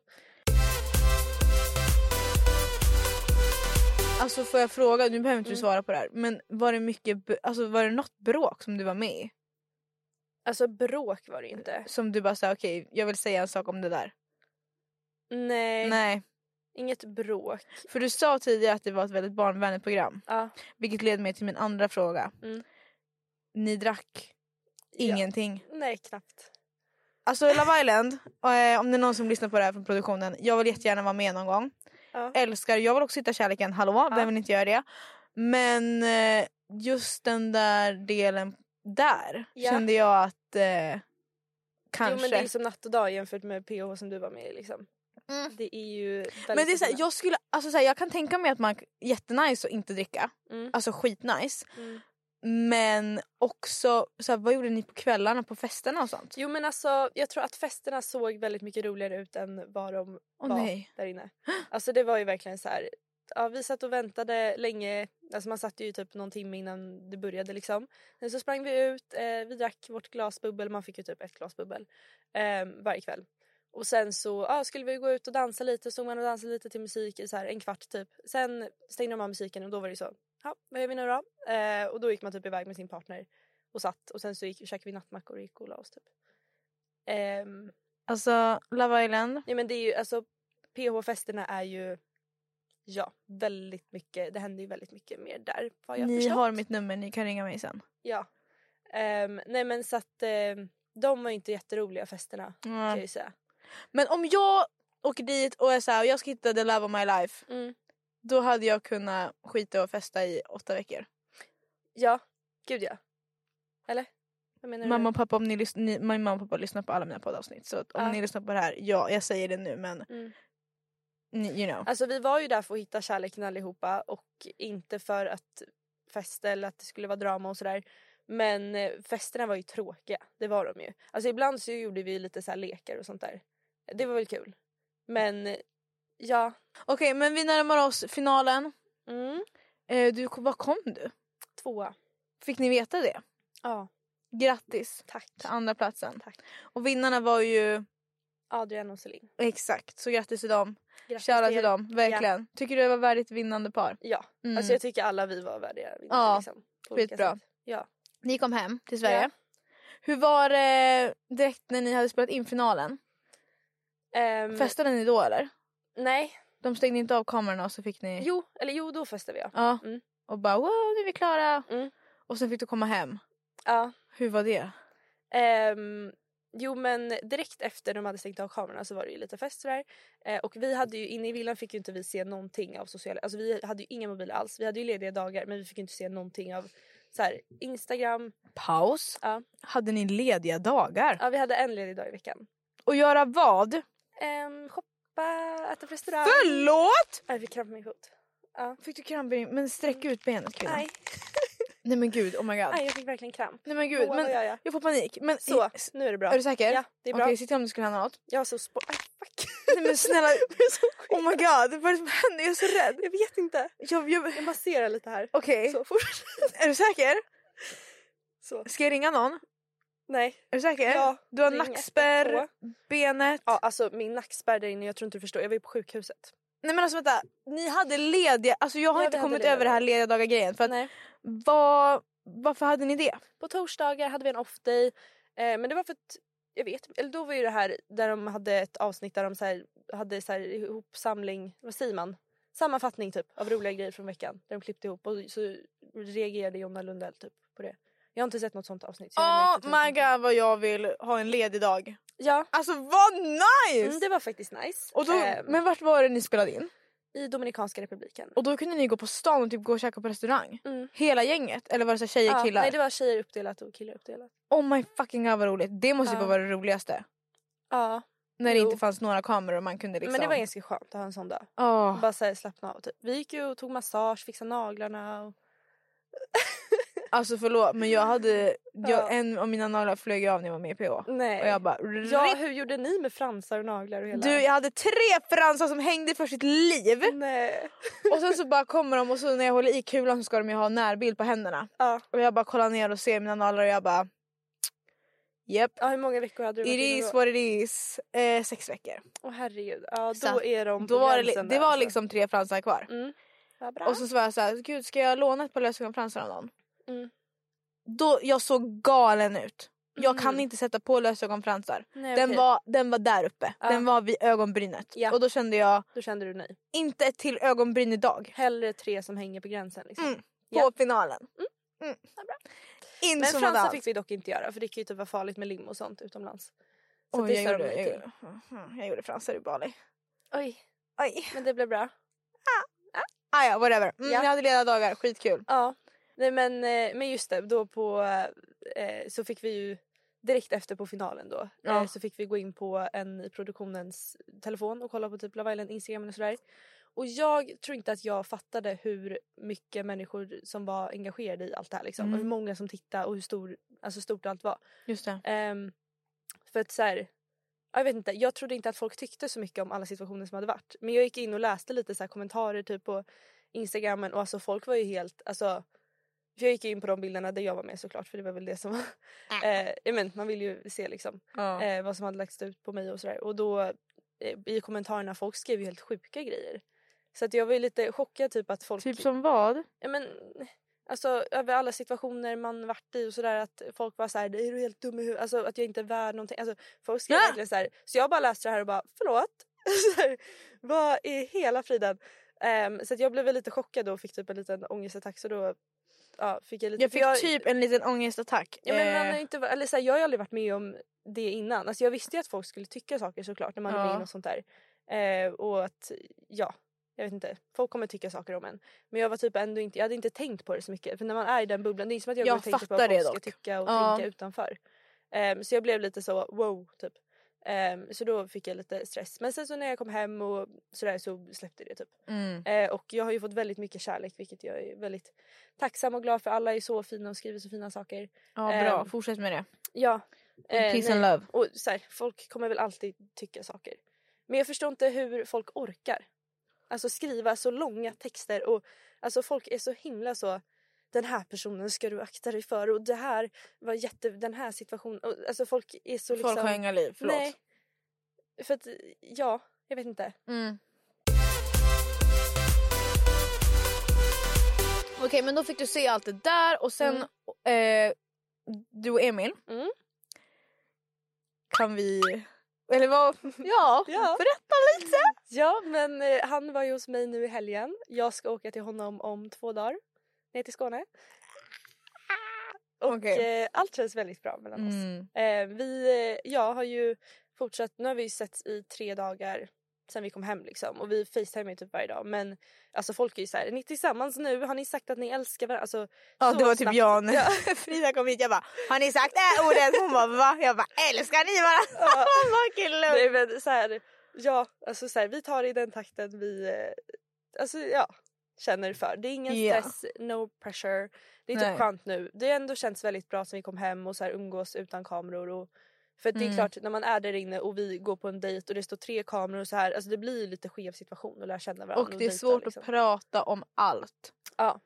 Speaker 1: Alltså får jag fråga, nu behöver inte du
Speaker 2: Mm.
Speaker 1: svara på det här, men var det mycket, b- alltså var det något bråk som du var med i?
Speaker 2: Alltså bråk var det inte.
Speaker 1: Som du bara sa okej jag vill säga en sak om det där?
Speaker 2: Nej,
Speaker 1: Nej.
Speaker 2: inget bråk.
Speaker 1: För du sa tidigare att det var ett väldigt barnvänligt program.
Speaker 2: Ja.
Speaker 1: Vilket leder mig till min andra fråga.
Speaker 2: Mm.
Speaker 1: Ni drack ingenting.
Speaker 2: Ja. Nej, knappt.
Speaker 1: Alltså Love Island, eh, om det är någon som lyssnar på det här från produktionen. Jag vill jättegärna vara med någon gång.
Speaker 2: Ja.
Speaker 1: Älskar, jag vill också hitta kärleken. Hallå,
Speaker 2: Ja.
Speaker 1: vem vill inte göra det? Men eh, just den där delen där
Speaker 2: Ja.
Speaker 1: kände jag att eh, kanske.
Speaker 2: Jo, men det är som natt och dag jämfört med PH som du var med i. Liksom.
Speaker 1: Mm.
Speaker 2: Det är ju väldigt
Speaker 1: Men det är såhär,
Speaker 2: skillnad.
Speaker 1: jag, skulle, alltså såhär, jag kan tänka mig att man jättenice att inte dricka.
Speaker 2: Mm.
Speaker 1: Alltså skitnice.
Speaker 2: Mm.
Speaker 1: Men också, såhär, vad gjorde ni på kvällarna på festerna och sånt?
Speaker 2: Jo men alltså jag tror att festerna såg väldigt mycket roligare ut än vad de
Speaker 1: Åh
Speaker 2: var
Speaker 1: nej.
Speaker 2: där inne. Alltså det var ju verkligen så här. Ja, vi satt och väntade länge, alltså man satt ju typ någon timme innan det började liksom. Sen så sprang vi ut, eh, vi drack vårt glas bubbel, man fick ju typ ett glas bubbel eh, varje kväll. Och sen så ja, skulle vi gå ut och dansa lite, stod man och dansade lite till musik i så här en kvart typ. Sen stängde de av musiken och då var det ju så, ja vad gör vi nu då? Eh, och då gick man typ iväg med sin partner och satt och sen så gick, käkade vi nattmackor och gick och la oss typ. Ehm,
Speaker 1: Alltså Love Island.
Speaker 2: Nej men det är ju alltså PH-festerna är ju ja väldigt mycket. Det händer ju väldigt mycket mer där vad jag
Speaker 1: Ni
Speaker 2: förstått.
Speaker 1: har mitt nummer, ni kan ringa mig sen.
Speaker 2: Ja. Ehm, nej men så att ehm, de var ju inte jätteroliga festerna kan jag ju säga.
Speaker 1: Men om jag åker dit och är såhär, jag ska hitta the love of my life.
Speaker 2: Mm.
Speaker 1: Då hade jag kunnat skita och festa i åtta veckor.
Speaker 2: Ja, gud ja. Eller? Vad menar
Speaker 1: Mamma
Speaker 2: du?
Speaker 1: och pappa, om ni lyssn- ni, min mamma och pappa lyssnar på alla mina poddavsnitt. Så att om
Speaker 2: Ja.
Speaker 1: ni lyssnar på det här, ja jag säger det nu men
Speaker 2: Mm.
Speaker 1: ni, you know.
Speaker 2: Alltså vi var ju där för att hitta kärleken allihopa och inte för att festa eller att det skulle vara drama och sådär. Men eh, festerna var ju tråkiga, det var de ju. Alltså ibland så gjorde vi lite så här lekar och sånt där. Det var väl kul. Men eh, ja.
Speaker 1: Okej men vi närmar oss finalen.
Speaker 2: Mm.
Speaker 1: Eh, du, vad kom du?
Speaker 2: Tvåa.
Speaker 1: Fick ni veta det?
Speaker 2: Ja,
Speaker 1: Grattis
Speaker 2: tack.
Speaker 1: till andra platsen.
Speaker 2: Tack.
Speaker 1: Och vinnarna var ju,
Speaker 2: Adrian och Celine.
Speaker 1: exakt så grattis till dem.
Speaker 2: Grattis
Speaker 1: Shoutout
Speaker 2: er.
Speaker 1: till dem, verkligen. Tycker du det var värdigt vinnande par?
Speaker 2: Ja,
Speaker 1: Mm.
Speaker 2: alltså jag tycker alla vi var värdiga vinnare.
Speaker 1: Ja,
Speaker 2: liksom, på olika
Speaker 1: skitbra.
Speaker 2: sätt. Ja.
Speaker 1: Ni kom hem till Sverige.
Speaker 2: Ja.
Speaker 1: Hur var det direkt när ni hade spelat in finalen?
Speaker 2: Ehm,
Speaker 1: Festade ni då eller?
Speaker 2: Nej,
Speaker 1: De stängde inte av kamerorna och så fick ni...
Speaker 2: jo, eller jo då festade vi ja.
Speaker 1: Ja.
Speaker 2: Mm.
Speaker 1: Och bara wow nu är vi klara.
Speaker 2: Mm.
Speaker 1: Och sen fick du komma hem.
Speaker 2: ja.
Speaker 1: Hur var det?
Speaker 2: Ehm, jo men direkt efter de hade stängt av kamerorna så var det ju lite fest sådär. Eh, och vi hade ju, inne i villan fick ju inte vi se någonting av sociala, alltså vi hade ju inga mobiler alls. Vi hade ju lediga dagar men vi fick ju inte se någonting av såhär Instagram.
Speaker 1: Paus.
Speaker 2: Ja.
Speaker 1: Hade ni lediga dagar?
Speaker 2: Ja vi hade en ledig dag i veckan.
Speaker 1: Och göra vad?
Speaker 2: Ehm, shoppa, äta på restaurang.
Speaker 1: Förlåt!
Speaker 2: Nej, Jag fick kramp i min fot.
Speaker 1: Fick du kramp i din- Men sträck ut benet kvinna.
Speaker 2: Nej,
Speaker 1: Nej men gud, oh my god.
Speaker 2: nej jag fick verkligen kramp.
Speaker 1: Nej men gud,
Speaker 2: Gud,
Speaker 1: men
Speaker 2: jag, jag.
Speaker 1: jag får panik. Men
Speaker 2: Så,
Speaker 1: S-
Speaker 2: nu är det bra.
Speaker 1: Är du säker?
Speaker 2: Ja, det är bra.
Speaker 1: Okej, sitta om det skulle hända något.
Speaker 2: Jag har så spår... Aj, fuck.
Speaker 1: Nej men snälla.
Speaker 2: Jag är så
Speaker 1: Oh my god, vad är det som händer? Jag är så rädd.
Speaker 2: Jag vet inte.
Speaker 1: Jag, jag...
Speaker 2: Jag masserar lite här.
Speaker 1: Okej,
Speaker 2: Så, fortsätt.
Speaker 1: är du säker?
Speaker 2: Så.
Speaker 1: Ska jag ringa någon?
Speaker 2: Nej.
Speaker 1: Är du säker?
Speaker 2: Ja,
Speaker 1: du har
Speaker 2: ring
Speaker 1: nackspärr, benet.
Speaker 2: Ja, alltså min nackspärr där inne, jag tror inte du förstår. Jag var ju på sjukhuset.
Speaker 1: Nej men alltså vänta, ni hade lediga, alltså jag har
Speaker 2: Ja,
Speaker 1: inte
Speaker 2: vi hade
Speaker 1: kommit
Speaker 2: lediga
Speaker 1: över det här lediga dagar grejen för att
Speaker 2: Nej.
Speaker 1: vad Varför hade ni det?
Speaker 2: På torsdagar hade vi en off day. Eh, men det var för att, jag vet eller då var ju det här där de hade ett avsnitt där de så här, hade så här ihopsamling, vad säger man? Sammanfattning typ av roliga grejer från veckan. Där de klippte ihop och så reagerade Jonna Lundell typ på det. Jag har inte sett något sånt avsnitt. så jag
Speaker 1: Oh
Speaker 2: märkte typ
Speaker 1: my
Speaker 2: inte.
Speaker 1: god vad jag vill ha en ledig dag.
Speaker 2: Ja,
Speaker 1: Alltså vad nice!
Speaker 2: mm, det var faktiskt nice.
Speaker 1: Och då,
Speaker 2: Eh,
Speaker 1: men vart var det ni spelade in?
Speaker 2: I Dominikanska republiken.
Speaker 1: Och då kunde ni gå på stan och typ gå och käka på restaurang?
Speaker 2: Mm.
Speaker 1: Hela gänget? Eller var det så här tjejer
Speaker 2: Ja,
Speaker 1: killar?
Speaker 2: nej det var tjejer uppdelat och killar uppdelat.
Speaker 1: Oh my fucking god vad roligt. Det måste ju
Speaker 2: Ja.
Speaker 1: vara det roligaste.
Speaker 2: Ja,
Speaker 1: När det
Speaker 2: Jo.
Speaker 1: inte fanns några kameror och man kunde liksom...
Speaker 2: men det var ganska skönt att ha en sån dag.
Speaker 1: Åh.
Speaker 2: Bara så här, slappna av typ. Vi gick ju och tog massage, fixade naglarna och
Speaker 1: Alltså förlåt men jag hade... Jag,
Speaker 2: Ja.
Speaker 1: En av mina naglar flög av när jag var med i PH.
Speaker 2: Nej.
Speaker 1: Och jag bara...
Speaker 2: ja, hur gjorde ni med fransar och naglar och hela?
Speaker 1: Du jag hade tre fransar som hängde för sitt liv.
Speaker 2: Nej.
Speaker 1: Och sen så bara kommer de och så när jag håller i kulan så ska de ju ha närbild på händerna.
Speaker 2: Ja.
Speaker 1: Och jag bara kollar ner och ser mina naglar och jag bara... Japp.
Speaker 2: ja, hur många veckor hade du varit
Speaker 1: It
Speaker 2: inne
Speaker 1: is
Speaker 2: då?
Speaker 1: what it is. Eh, sex veckor.
Speaker 2: Åh herregud. Ja,
Speaker 1: Så
Speaker 2: då
Speaker 1: att-
Speaker 2: är de
Speaker 1: Då
Speaker 2: på
Speaker 1: var det, li-
Speaker 2: gränsen
Speaker 1: det
Speaker 2: där,
Speaker 1: var
Speaker 2: alltså.
Speaker 1: liksom tre fransar kvar.
Speaker 2: Mm. Ja, bra.
Speaker 1: Och så, så var jag såhär, gud ska jag låna ett par lösögonfransar av någon?
Speaker 2: Mm.
Speaker 1: Då, jag såg galen ut. Jag kan
Speaker 2: Mm.
Speaker 1: inte sätta på lösögonfransar.
Speaker 2: Nej,
Speaker 1: Den,
Speaker 2: okej.
Speaker 1: var, den var där uppe.
Speaker 2: Ja.
Speaker 1: Den var vid ögonbrynet.
Speaker 2: Ja.
Speaker 1: Och då kände jag,
Speaker 2: Då kände du nej.
Speaker 1: inte ett till ögonbryn idag.
Speaker 2: Hellre tre som hänger på gränsen liksom.
Speaker 1: Mm. På
Speaker 2: Ja.
Speaker 1: finalen. Mm. In
Speaker 2: Men
Speaker 1: som
Speaker 2: fransar
Speaker 1: allt.
Speaker 2: fick vi dock inte göra för det kan ju typ vara farligt med lim och sånt utomlands. Så
Speaker 1: Oj,
Speaker 2: det
Speaker 1: jag,
Speaker 2: sa de
Speaker 1: gjorde,
Speaker 2: nej
Speaker 1: jag,
Speaker 2: till.
Speaker 1: gjorde, Mhm, jag gjorde fransar i Bali.
Speaker 2: Oj,
Speaker 1: Oj.
Speaker 2: men det blev bra.
Speaker 1: Ah, ja, whatever. Mm,
Speaker 2: Ja.
Speaker 1: Jag hade lediga dagar, skitkul.
Speaker 2: Ja, nej men, eh, men just det, då på, eh, så fick vi ju direkt efter på finalen då eh,
Speaker 1: Ja.
Speaker 2: så fick vi gå in på en i produktionens telefon och kolla på typ Love Island, Instagram och sådär. Och jag tror inte att jag fattade hur mycket människor som var engagerade i allt det här liksom.
Speaker 1: Mm.
Speaker 2: Och hur många som tittade och hur stor, alltså stort allt var.
Speaker 1: Just det.
Speaker 2: Ehm, för att så här, ja, jag vet inte, jag trodde inte att folk tyckte så mycket om alla situationer som hade varit. Men jag gick in och läste lite så här kommentarer typ på instagrammen och alltså folk var ju helt, alltså för jag gick in på de bilderna där jag var med såklart för det var väl det som var, eh, jag men, man vill ju se liksom
Speaker 1: Ja.
Speaker 2: eh, vad som hade lagts ut på mig och sådär och då eh, i kommentarerna folk skrev ju helt sjuka grejer. Så att jag var ju lite chockad typ att folk
Speaker 1: Typ som vad?
Speaker 2: ja, men, alltså, över alla situationer man varit i och sådär att folk var såhär, är du helt dum i huvudet? Alltså att jag inte är värd någonting. Alltså, folk skrev
Speaker 1: Ah!
Speaker 2: verkligen såhär. Så jag bara läste det här och bara, förlåt? Så här, Vad i hela friden? Ehm, så att jag blev väl lite chockad då och fick typ en liten ångestattack så då ja, fick jag lite...
Speaker 1: Jag
Speaker 2: för
Speaker 1: fick typ en liten ångestattack.
Speaker 2: Ja, men man har
Speaker 1: Eh,
Speaker 2: ju inte, va- eller så här, jag har ju aldrig varit med om det innan. Alltså, jag visste ju att folk skulle tycka saker såklart när man är med
Speaker 1: Ja.
Speaker 2: i något sånt där. Eh, och att, ja, jag vet inte. Folk kommer tycka saker om en. Men jag var typ ändå inte, jag hade inte tänkt på det så mycket. För när man är i den bubblan, det är inte som att jag,
Speaker 1: Jag
Speaker 2: går och tänker på
Speaker 1: fattar
Speaker 2: vad
Speaker 1: det
Speaker 2: folk ska
Speaker 1: dock.
Speaker 2: tycka och
Speaker 1: Ja.
Speaker 2: tänka utanför. Ehm, så jag blev lite så wow typ. Ehm, så då fick jag lite stress. Men sen så när jag kom hem och sådär så släppte det typ.
Speaker 1: mm.
Speaker 2: Eh, och jag har ju fått väldigt mycket kärlek vilket jag är väldigt tacksam och glad för. Alla är så fina och skriver så fina saker.
Speaker 1: Ja, bra.
Speaker 2: ehm,
Speaker 1: Fortsätt med det.
Speaker 2: Ja. eh,
Speaker 1: Peace and
Speaker 2: nej.
Speaker 1: love.
Speaker 2: Och så här, folk kommer väl alltid tycka saker. Men jag förstår inte hur folk orkar. Alltså skriva så långa texter och alltså folk är så himla så den här personen ska du akta dig för och det här var jätte den här situationen och, alltså folk är så liksom
Speaker 1: Folk har inga liv, förlåt.
Speaker 2: Nej. För att ja, jag vet inte.
Speaker 1: Mm. Okej, men då fick du se allt det där och sen eh, du och Emil.
Speaker 2: Mm.
Speaker 1: Kan vi... Eller vad? Ja,
Speaker 2: Ja.
Speaker 1: berätta lite!
Speaker 2: Ja, men eh, han var ju hos mig nu i helgen. Jag ska åka till honom om två dagar ner till Skåne. Och
Speaker 1: Okej.
Speaker 2: eh, allt känns väldigt bra mellan oss.
Speaker 1: Mm.
Speaker 2: Eh, vi, eh, jag har ju fortsatt, nu har vi ju sett i tre dagar sen vi kom hem liksom och vi facetimar ju typ varje dag men alltså folk är ju såhär, är ni tillsammans nu? Har ni sagt att ni älskar varandra? Alltså,
Speaker 1: Ja,
Speaker 2: så
Speaker 1: det var typ
Speaker 2: snabbt.
Speaker 1: jag när Frida kom hit. Jag bara, har ni sagt det här ordet? Hon bara, va? Jag bara, älskar ni varandra?
Speaker 2: Ja.
Speaker 1: Fucking lugn!
Speaker 2: Nej men såhär, ja alltså såhär vi tar det i den takten vi eh, alltså ja känner för. Det är ingen
Speaker 1: Ja.
Speaker 2: stress, no pressure. Det är typ
Speaker 1: Nej.
Speaker 2: skönt nu. Det har ändå känts väldigt bra sen vi kom hem och så här umgås utan kameror och för att det är
Speaker 1: Mm.
Speaker 2: klart när man är där inne och vi går på en dejt och det står tre kameror och så här alltså det blir ju lite skev situation att lära känna varandra
Speaker 1: Och det är
Speaker 2: dejta,
Speaker 1: svårt
Speaker 2: liksom.
Speaker 1: att prata om allt.
Speaker 2: Ja.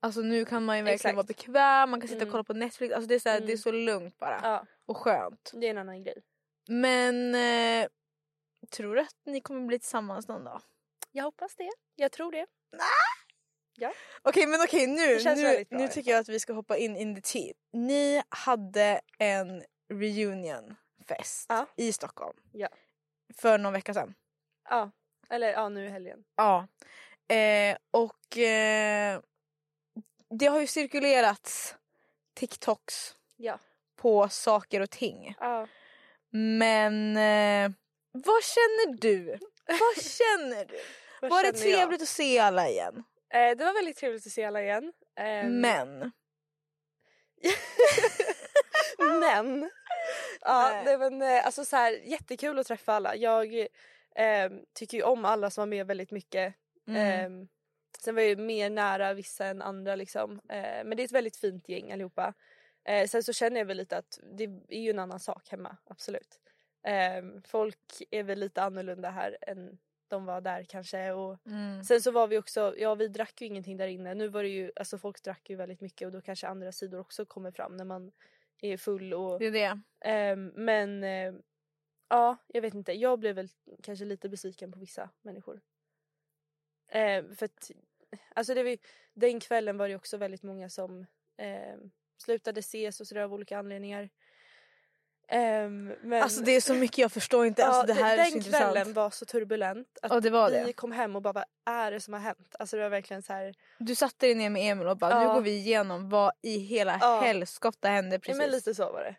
Speaker 1: Alltså nu kan man ju verkligen
Speaker 2: Exakt.
Speaker 1: vara bekväm, man kan sitta
Speaker 2: Mm.
Speaker 1: och kolla på Netflix. Alltså det är så, här,
Speaker 2: Mm.
Speaker 1: det är så lugnt bara.
Speaker 2: Ja, Mm.
Speaker 1: Och skönt.
Speaker 2: det är en annan grej.
Speaker 1: Men eh, tror du att ni kommer bli tillsammans någon dag?
Speaker 2: Jag hoppas det. Jag tror det. Ja.
Speaker 1: Okej men okej
Speaker 2: Det
Speaker 1: nu,
Speaker 2: känns
Speaker 1: nu,
Speaker 2: väldigt bra liksom. i
Speaker 1: nu
Speaker 2: alla
Speaker 1: tycker jag att vi ska hoppa in in the tea. Ni hade en reunionfest
Speaker 2: Ja.
Speaker 1: i Stockholm.
Speaker 2: Ja.
Speaker 1: För någon vecka sedan.
Speaker 2: Ja. Eller ja, nu i helgen.
Speaker 1: Ja. Eh, och eh, det har ju cirkulerats TikToks
Speaker 2: Ja.
Speaker 1: på saker och ting.
Speaker 2: Ja.
Speaker 1: Men eh, vad känner du? Vad känner du?
Speaker 2: Vad
Speaker 1: Var det
Speaker 2: känner jag?
Speaker 1: trevligt att se alla igen?
Speaker 2: Eh, det var väldigt trevligt att se alla igen. Ehm,
Speaker 1: Men.
Speaker 2: Men. Ja,
Speaker 1: Nej.
Speaker 2: nej, men eh, alltså så här, jättekul att träffa alla. Jag eh, tycker ju om alla som var med väldigt mycket.
Speaker 1: Mm.
Speaker 2: Eh, sen var jag ju mer nära vissa än andra liksom. Eh, men det är ett väldigt fint gäng allihopa. Eh, sen så känner jag väl lite att det är ju en annan sak hemma, absolut. Eh, folk är väl lite annorlunda här än de var där kanske. Och
Speaker 1: Mm.
Speaker 2: Sen så var vi också, ja vi drack ju ingenting där inne. Nu var det ju, alltså folk drack ju väldigt mycket och då kanske andra sidor också kommer fram när man är full och
Speaker 1: Det är det.
Speaker 2: Ehm, men ehm, ja, jag vet inte. Jag blev väl kanske lite besviken på vissa människor. Ehm, för att, alltså det var, ju- den kvällen var det ju också väldigt många som ehm, slutade ses och sådär av olika anledningar. Ehm, men,
Speaker 1: Alltså det är så mycket jag förstår inte.
Speaker 2: ja,
Speaker 1: Alltså, det
Speaker 2: de-
Speaker 1: här är så
Speaker 2: den kvällen
Speaker 1: intressant.
Speaker 2: var så turbulent att
Speaker 1: Ja det var
Speaker 2: vi
Speaker 1: det.
Speaker 2: kom hem och bara vad är det som har hänt? Alltså det var verkligen så här,
Speaker 1: Du satte dig ner med Emil och bara
Speaker 2: Ja.
Speaker 1: nu går vi igenom vad i hela
Speaker 2: Ja.
Speaker 1: helskotta hände
Speaker 2: Ja,
Speaker 1: precis.
Speaker 2: men lite så var det.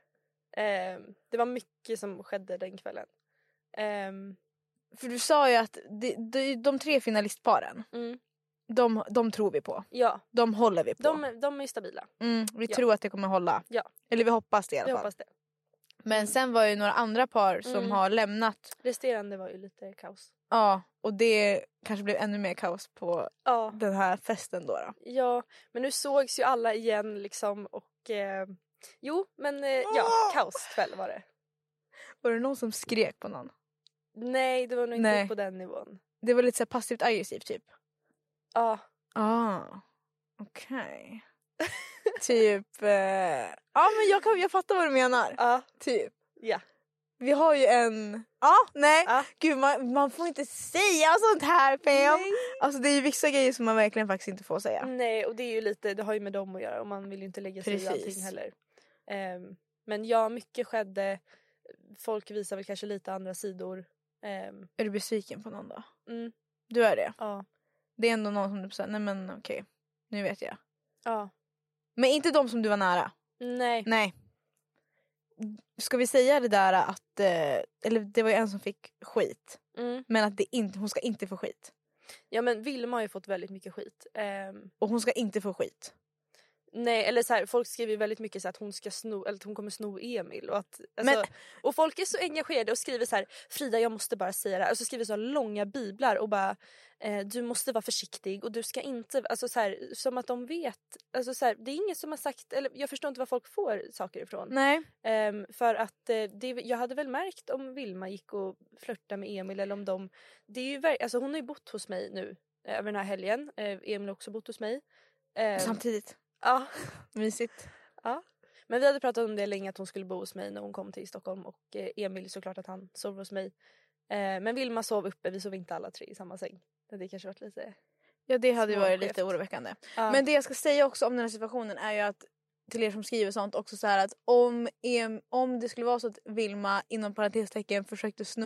Speaker 2: Ehm, det var mycket som skedde den kvällen. Ehm,
Speaker 1: För du sa ju att de, de, de tre finalistparen,
Speaker 2: mm,
Speaker 1: de, de tror vi på.
Speaker 2: ja,
Speaker 1: De håller vi på.
Speaker 2: De, de är stabila.
Speaker 1: Mm, vi
Speaker 2: Ja.
Speaker 1: tror att det kommer hålla.
Speaker 2: Ja.
Speaker 1: Eller vi hoppas det i alla
Speaker 2: Jag
Speaker 1: fall.
Speaker 2: hoppas det.
Speaker 1: Men sen var ju några andra par som
Speaker 2: Mm.
Speaker 1: har lämnat.
Speaker 2: Resterande var ju lite kaos.
Speaker 1: Ja, och det kanske blev ännu mer kaos på
Speaker 2: Ja,
Speaker 1: den här festen då. då.
Speaker 2: ja men nu sågs ju alla igen liksom och eh, jo men eh, ja,
Speaker 1: Åh!
Speaker 2: kaoskväll var det.
Speaker 1: Var det någon som skrek på någon?
Speaker 2: Nej det var nog inte
Speaker 1: Nej.
Speaker 2: på den nivån.
Speaker 1: Det var lite så här passivt aggressivt typ.
Speaker 2: Ja,
Speaker 1: Ah, okej. typ... eh, Ja, men jag, kan, jag fattar vad du menar.
Speaker 2: ja,
Speaker 1: Typ.
Speaker 2: Ja.
Speaker 1: Vi har ju en... Ja, nej.
Speaker 2: Ja.
Speaker 1: Gud, man, man får inte säga sånt här, Pam. Alltså det är ju vissa grejer som man verkligen faktiskt inte får säga.
Speaker 2: nej och det är ju lite, det har ju med dem att göra och man vill ju inte lägga sig i
Speaker 1: Precis.
Speaker 2: allting heller. Ehm, men ja, mycket skedde. Folk visar väl kanske lite andra sidor. Ehm,
Speaker 1: Är du besviken på någon då?
Speaker 2: mm,
Speaker 1: Du är det?
Speaker 2: ja,
Speaker 1: Det är ändå någon som du säger, nej men okej, nu vet jag.
Speaker 2: ja,
Speaker 1: Men inte de som du var nära.
Speaker 2: nej.
Speaker 1: Nej. Ska vi säga det där att, eh, eller det var ju en som fick skit.
Speaker 2: Mm.
Speaker 1: Men att det inte, hon ska inte få skit.
Speaker 2: Ja men Vilma har ju fått väldigt mycket skit. Ehm,
Speaker 1: Och hon ska inte få skit.
Speaker 2: Nej eller så här, folk skriver ju väldigt mycket så här att hon ska sno eller att hon kommer sno Emil och att alltså,
Speaker 1: Men-
Speaker 2: och folk är så engagerade och skriver så här Frida jag måste bara säga det här och så skriver så här långa biblar och bara eh, du måste vara försiktig och du ska inte alltså så här som att de vet alltså så här, det är ingen som har sagt eller jag förstår inte var folk får saker ifrån
Speaker 1: Nej.
Speaker 2: Ehm, för att eh, det, jag hade väl märkt om Vilma gick och flörtade med Emil eller om de... Det är ju, verk- alltså hon har ju bott hos mig nu eh, över den här helgen. Eh, Emil har också bott hos mig. Ehm,
Speaker 1: Samtidigt.
Speaker 2: ja.
Speaker 1: Mysigt.
Speaker 2: Men vi hade pratat om det länge att hon skulle bo hos mig när hon kom till Stockholm och eh, Emil såklart att han sov hos mig. Eh, men Vilma sov uppe, vi sov inte alla tre i samma säng. Det hade kanske varit lite...
Speaker 1: Ja det hade ju varit lite
Speaker 2: Småskevt.
Speaker 1: oroväckande.
Speaker 2: Ja.
Speaker 1: Men det jag ska säga också om den här situationen är ju att till er som skriver sånt också så här att om, em, om det skulle vara så att Vilma inom parentestecken försökte sno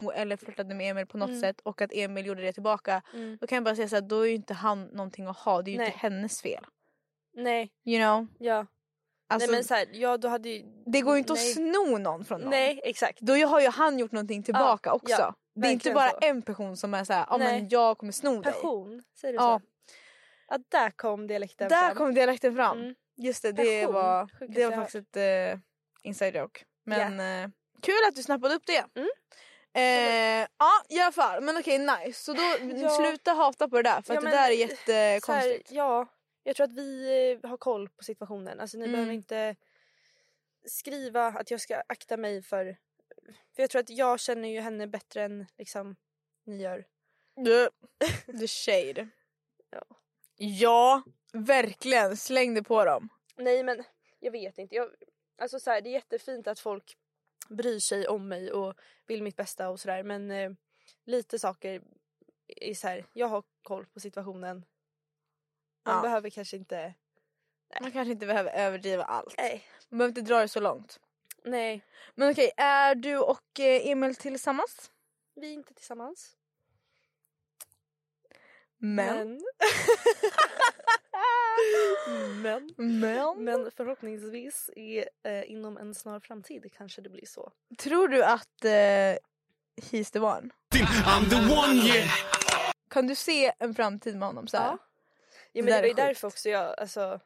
Speaker 1: relation eller flörtade med Emil på
Speaker 2: Mm.
Speaker 1: något sätt och att Emil gjorde det tillbaka. Då kan jag bara säga såhär, då är ju inte han någonting att ha. Det är ju
Speaker 2: Nej.
Speaker 1: inte hennes fel.
Speaker 2: Nej,
Speaker 1: You know?
Speaker 2: ja.
Speaker 1: Alltså,
Speaker 2: nej men såhär, ja du hade ju...
Speaker 1: det går ju inte
Speaker 2: nej.
Speaker 1: att sno någon från någon.
Speaker 2: Nej exakt.
Speaker 1: Då har ju han gjort någonting tillbaka
Speaker 2: ja,
Speaker 1: också. det är inte
Speaker 2: verkligen
Speaker 1: bara
Speaker 2: så.
Speaker 1: en person som är såhär, ja
Speaker 2: Nej.
Speaker 1: men jag kommer sno dig.
Speaker 2: Passion, säger du
Speaker 1: Ja.
Speaker 2: så? Ja, där kom dialekten
Speaker 1: Där
Speaker 2: fram.
Speaker 1: kom dialekten fram.
Speaker 2: Mm.
Speaker 1: Just det, det
Speaker 2: Passion.
Speaker 1: var,
Speaker 2: Sjukaste
Speaker 1: det var
Speaker 2: jag
Speaker 1: faktiskt ett eh, inside joke. Men eh, kul att du snappade upp det.
Speaker 2: Mm.
Speaker 1: Eh, ja i alla fall, men okej nice. Så då,
Speaker 2: Ja.
Speaker 1: sluta hata på det där för
Speaker 2: Ja,
Speaker 1: att
Speaker 2: men,
Speaker 1: det där är
Speaker 2: Så här,
Speaker 1: jättekonstigt.
Speaker 2: ja, jag tror att vi eh, har koll på situationen. Alltså ni
Speaker 1: Mm.
Speaker 2: behöver inte skriva att jag ska akta mig för... För jag tror att jag känner ju henne bättre än liksom ni gör.
Speaker 1: Du, the shade.
Speaker 2: Ja.
Speaker 1: ja, verkligen. Släng det på dem.
Speaker 2: Nej men jag vet inte. Jag, alltså så här, det är jättefint att folk bryr sig om mig och vill mitt bästa och sådär men eh, lite saker är så här, jag har koll på situationen. Man
Speaker 1: Ja.
Speaker 2: behöver kanske inte...
Speaker 1: Man kanske inte behöver överdriva allt.
Speaker 2: Nej.
Speaker 1: Man behöver inte dra det så långt.
Speaker 2: Nej,
Speaker 1: Men okej, är du och eh, Emil tillsammans?
Speaker 2: vi är inte tillsammans.
Speaker 1: Men.
Speaker 2: men.
Speaker 1: Men.
Speaker 2: Men förhoppningsvis är, eh, inom en snar framtid kanske det blir så.
Speaker 1: Tror du att eh, he's the one?
Speaker 4: I'm the one, yeah.
Speaker 1: Kan du se en framtid med honom så här?
Speaker 2: Ja.
Speaker 1: Det
Speaker 2: Ja,
Speaker 1: där
Speaker 2: men det
Speaker 1: är
Speaker 2: var ju
Speaker 1: sjukt.
Speaker 2: därför också jag, alltså,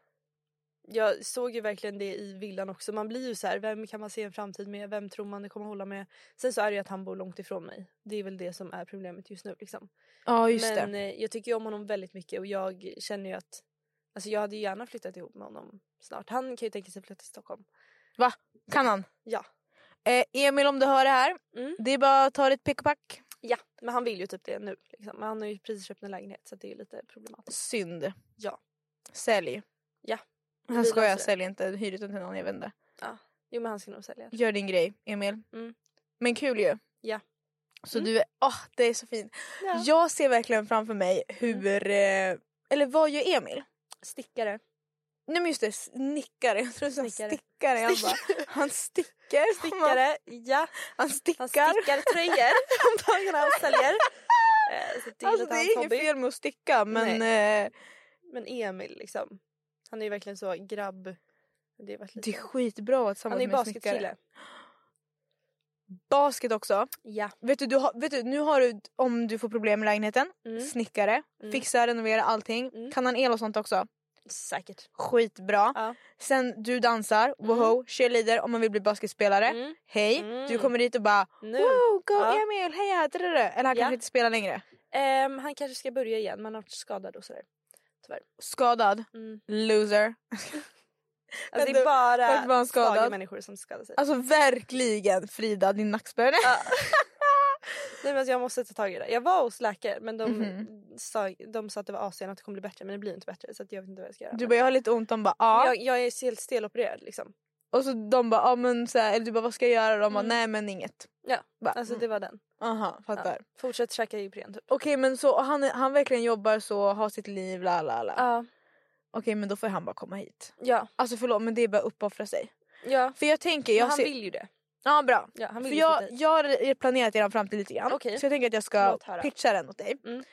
Speaker 2: jag såg ju verkligen det i villan också. Man blir ju så här, vem kan man se en framtid med? Vem tror man det kommer hålla med? Sen så är det ju att han bor långt ifrån mig. Det är väl det som är problemet just nu. Liksom.
Speaker 1: Ja, just
Speaker 2: men
Speaker 1: det.
Speaker 2: eh, jag tycker ju om honom väldigt mycket och jag känner ju att alltså, jag hade ju gärna flyttat ihop med honom snart. Han kan ju tänka sig att flytta till Stockholm.
Speaker 1: Kan han?
Speaker 2: Ja.
Speaker 1: Eh, Emil om du hör det här,
Speaker 2: Mm.
Speaker 1: det är bara att ta ditt pick och pack.
Speaker 2: Ja, men han vill ju typ det nu. Liksom. Men han har ju precis köpt en lägenhet så det är lite problematiskt.
Speaker 1: Synd.
Speaker 2: Ja.
Speaker 1: Sälj.
Speaker 2: Ja.
Speaker 1: Han
Speaker 2: Vi
Speaker 1: skojar,
Speaker 2: löser det.
Speaker 1: sälj inte. Hyr ut den till någon, jag vet inte.
Speaker 2: Jo men han ska nog sälja.
Speaker 1: Gör din grej, Emil.
Speaker 2: Mm.
Speaker 1: Men kul ju.
Speaker 2: Ja. Mm.
Speaker 1: Så du är, åh det är så fint. Jag ser verkligen framför mig hur,
Speaker 2: Mm.
Speaker 1: eh, eller vad gör Emil?
Speaker 2: Stickare.
Speaker 1: Nej men just det, snickare. Jag tror du sa
Speaker 2: Snickare.
Speaker 1: stickare. Jag bara, han sticker. Stickare.
Speaker 2: ja.
Speaker 1: Han stickar.
Speaker 2: Han stickar tröjor om dagarna och säljer. Eh, Så det är
Speaker 1: Alltså,
Speaker 2: lite
Speaker 1: det
Speaker 2: hans
Speaker 1: är inget
Speaker 2: hobby.
Speaker 1: fel med att sticka men eh,
Speaker 2: Men Emil liksom. Han är ju verkligen så grabb. Det är,
Speaker 1: det är skitbra att vara
Speaker 2: han
Speaker 1: tillsammans
Speaker 2: är ju
Speaker 1: med en snickare.
Speaker 2: basketkille.
Speaker 1: Basket också.
Speaker 2: Ja.
Speaker 1: Vet du, du har, vet du, nu har du, om du får problem med lägenheten,
Speaker 2: Mm.
Speaker 1: snickare,
Speaker 2: Mm.
Speaker 1: fixa, renovera allting.
Speaker 2: Mm.
Speaker 1: Kan han el och sånt också?
Speaker 2: Säkert.
Speaker 1: Skitbra.
Speaker 2: Ja.
Speaker 1: Sen du dansar, woho, cheerleader om man vill bli basketspelare.
Speaker 2: Mm.
Speaker 1: Hej,
Speaker 2: Mm.
Speaker 1: du kommer dit och bara
Speaker 2: Nu.
Speaker 1: wow, go
Speaker 2: Ja.
Speaker 1: Emil, heja, drr. eller han
Speaker 2: Ja.
Speaker 1: kanske inte spelar längre.
Speaker 2: Ehm, han kanske ska börja igen men han har varit skadad och sådär.
Speaker 1: Skadad,
Speaker 2: Mm.
Speaker 1: loser.
Speaker 2: Alltså, det
Speaker 1: Vänta,
Speaker 2: är
Speaker 1: varför var
Speaker 2: bara
Speaker 1: han
Speaker 2: svaga
Speaker 1: skadad?
Speaker 2: människor som skadar sig.
Speaker 1: Alltså verkligen Frida, din nackspärr.
Speaker 2: Ja. Nej, men alltså jag måste ta tag i det. Jag var hos läkare men de,
Speaker 1: Mhm.
Speaker 2: sa, de sa att det var AC'n att det kommer bli bättre men det blir inte bättre så att jag vet inte vad jag ska göra.
Speaker 1: Du
Speaker 2: Men
Speaker 1: bara jag har lite ont, de bara ja.
Speaker 2: jag, jag är helt stelopererad liksom.
Speaker 1: Och så de bara, ah, men, så här, eller du bara vad ska jag göra? De bara
Speaker 2: Mm.
Speaker 1: nej men inget.
Speaker 2: Ja,
Speaker 1: Bara,
Speaker 2: alltså
Speaker 1: mm.
Speaker 2: det var den.
Speaker 1: Aha, fattar.
Speaker 2: Ja. Fortsätt käka Ipren typ.
Speaker 1: Okej men så han, han verkligen jobbar så, har sitt liv, la la la.
Speaker 2: Ja,
Speaker 1: Okej men då får han bara komma hit.
Speaker 2: ja,
Speaker 1: Alltså förlåt men det är bara att uppoffra sig.
Speaker 2: ja.
Speaker 1: För jag tänker,
Speaker 2: Men
Speaker 1: jag
Speaker 2: han
Speaker 1: ser...
Speaker 2: vill ju det.
Speaker 1: Ja bra.
Speaker 2: Ja, han
Speaker 1: För
Speaker 2: vill ju
Speaker 1: jag,
Speaker 2: flytta hit.
Speaker 1: jag har planerat eran framtid lite grann.
Speaker 2: Okej.
Speaker 1: Så jag tänker att jag ska
Speaker 2: Låt höra.
Speaker 1: pitcha den åt dig.
Speaker 2: Mm.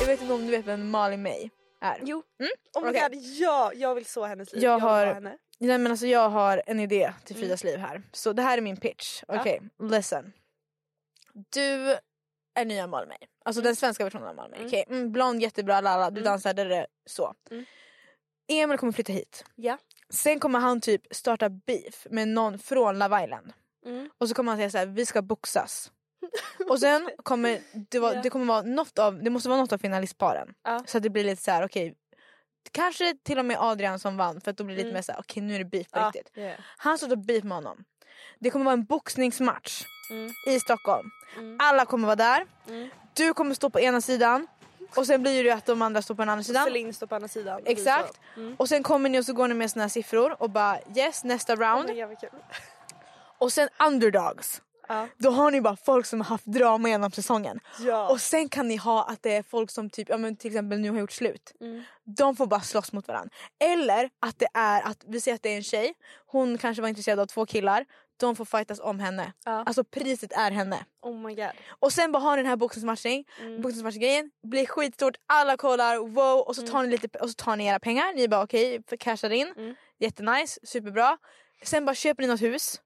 Speaker 1: Jag vet inte om du vet vem Malin May är?
Speaker 2: Jo.
Speaker 1: Mm?
Speaker 2: Oh my
Speaker 1: Okej.
Speaker 2: god, ja! Jag vill så hennes liv.
Speaker 1: Jag
Speaker 2: vill
Speaker 1: har-
Speaker 2: ha henne.
Speaker 1: Nej men alltså jag har en idé
Speaker 2: Mm.
Speaker 1: till Fridas liv här. Så det här är min pitch. Okej, listen. Du är nya Malmö. Alltså den svenska versionen av Malmö.
Speaker 2: Mm.
Speaker 1: Okej, mm, blond, jättebra, lala, du
Speaker 2: Mm.
Speaker 1: dansar, där, där, så.
Speaker 2: Mm.
Speaker 1: Emil kommer flytta hit.
Speaker 2: Ja.
Speaker 1: Sen kommer han typ starta beef med någon från Love Island.
Speaker 2: Mm.
Speaker 1: Och så kommer han säga så här: vi ska boxas. Och sen kommer det, vara,
Speaker 2: Ja.
Speaker 1: det kommer vara något av, det måste vara något av finalistparen.
Speaker 2: Ja.
Speaker 1: Så att det blir lite så här: okej. Kanske till och med Adrian som vann för att då blir det lite
Speaker 2: Mm.
Speaker 1: mer såhär, okej nu är det beef på
Speaker 2: Ja,
Speaker 1: riktigt.
Speaker 2: ja, ja.
Speaker 1: Han står och beef med honom. Det kommer vara en boxningsmatch
Speaker 2: Mm.
Speaker 1: i Stockholm.
Speaker 2: Mm.
Speaker 1: Alla kommer vara där.
Speaker 2: Mm.
Speaker 1: Du kommer stå på ena sidan och sen blir det ju att de andra står på den andra sidan.
Speaker 2: Celine står på andra sidan. Vi
Speaker 1: Exakt.
Speaker 2: så. Mm.
Speaker 1: Och sen kommer ni och så går ni med såna här siffror och bara yes nästa
Speaker 2: Oh
Speaker 1: round.
Speaker 2: my god vad kul.
Speaker 1: och sen underdogs.
Speaker 2: Ja.
Speaker 1: Då har ni bara folk som har haft drama genom säsongen.
Speaker 2: Ja.
Speaker 1: Och sen kan ni ha att det är folk som typ, ja, men till exempel nu har gjort slut.
Speaker 2: Mm.
Speaker 1: De får bara slåss mot varandra. Eller att det är att, vi säger att det är en tjej, hon kanske var intresserad av två killar. de får fightas om henne.
Speaker 2: Ja.
Speaker 1: Alltså priset är henne.
Speaker 2: Oh my god.
Speaker 1: Och sen bara har ni den här boxningsmatchning.
Speaker 2: Mm.
Speaker 1: Boxningsmatchgrejen blir skitstort, alla kollar, wow. Och så tar ni, lite, och så tar ni era pengar, ni bara okej, okay, cashar in.
Speaker 2: Mm.
Speaker 1: Jättenice, superbra. Sen bara köper ni något hus.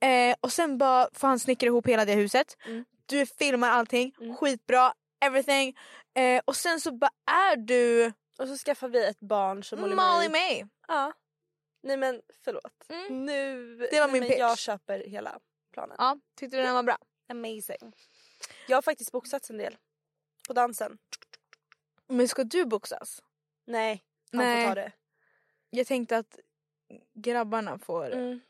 Speaker 1: Eh, och sen bara får han snickra ihop hela det huset.
Speaker 2: Mm.
Speaker 1: Du filmar allting,
Speaker 2: Mm.
Speaker 1: skitbra, everything. Eh, och sen så bara är du
Speaker 2: Och så skaffar vi ett barn som Molly
Speaker 1: Molly May.
Speaker 2: Ja. Nej men förlåt.
Speaker 1: Mm.
Speaker 2: Nu,
Speaker 1: Det var
Speaker 2: nej,
Speaker 1: min
Speaker 2: men
Speaker 1: pitch.
Speaker 2: Jag köper hela planen.
Speaker 1: Ja, tyckte du den var bra?
Speaker 2: Amazing. Jag har faktiskt boxats en del. På dansen.
Speaker 1: Men ska du boxas?
Speaker 2: Nej, han
Speaker 1: Nej.
Speaker 2: får ta det.
Speaker 1: Jag tänkte att grabbarna får...
Speaker 2: Mm.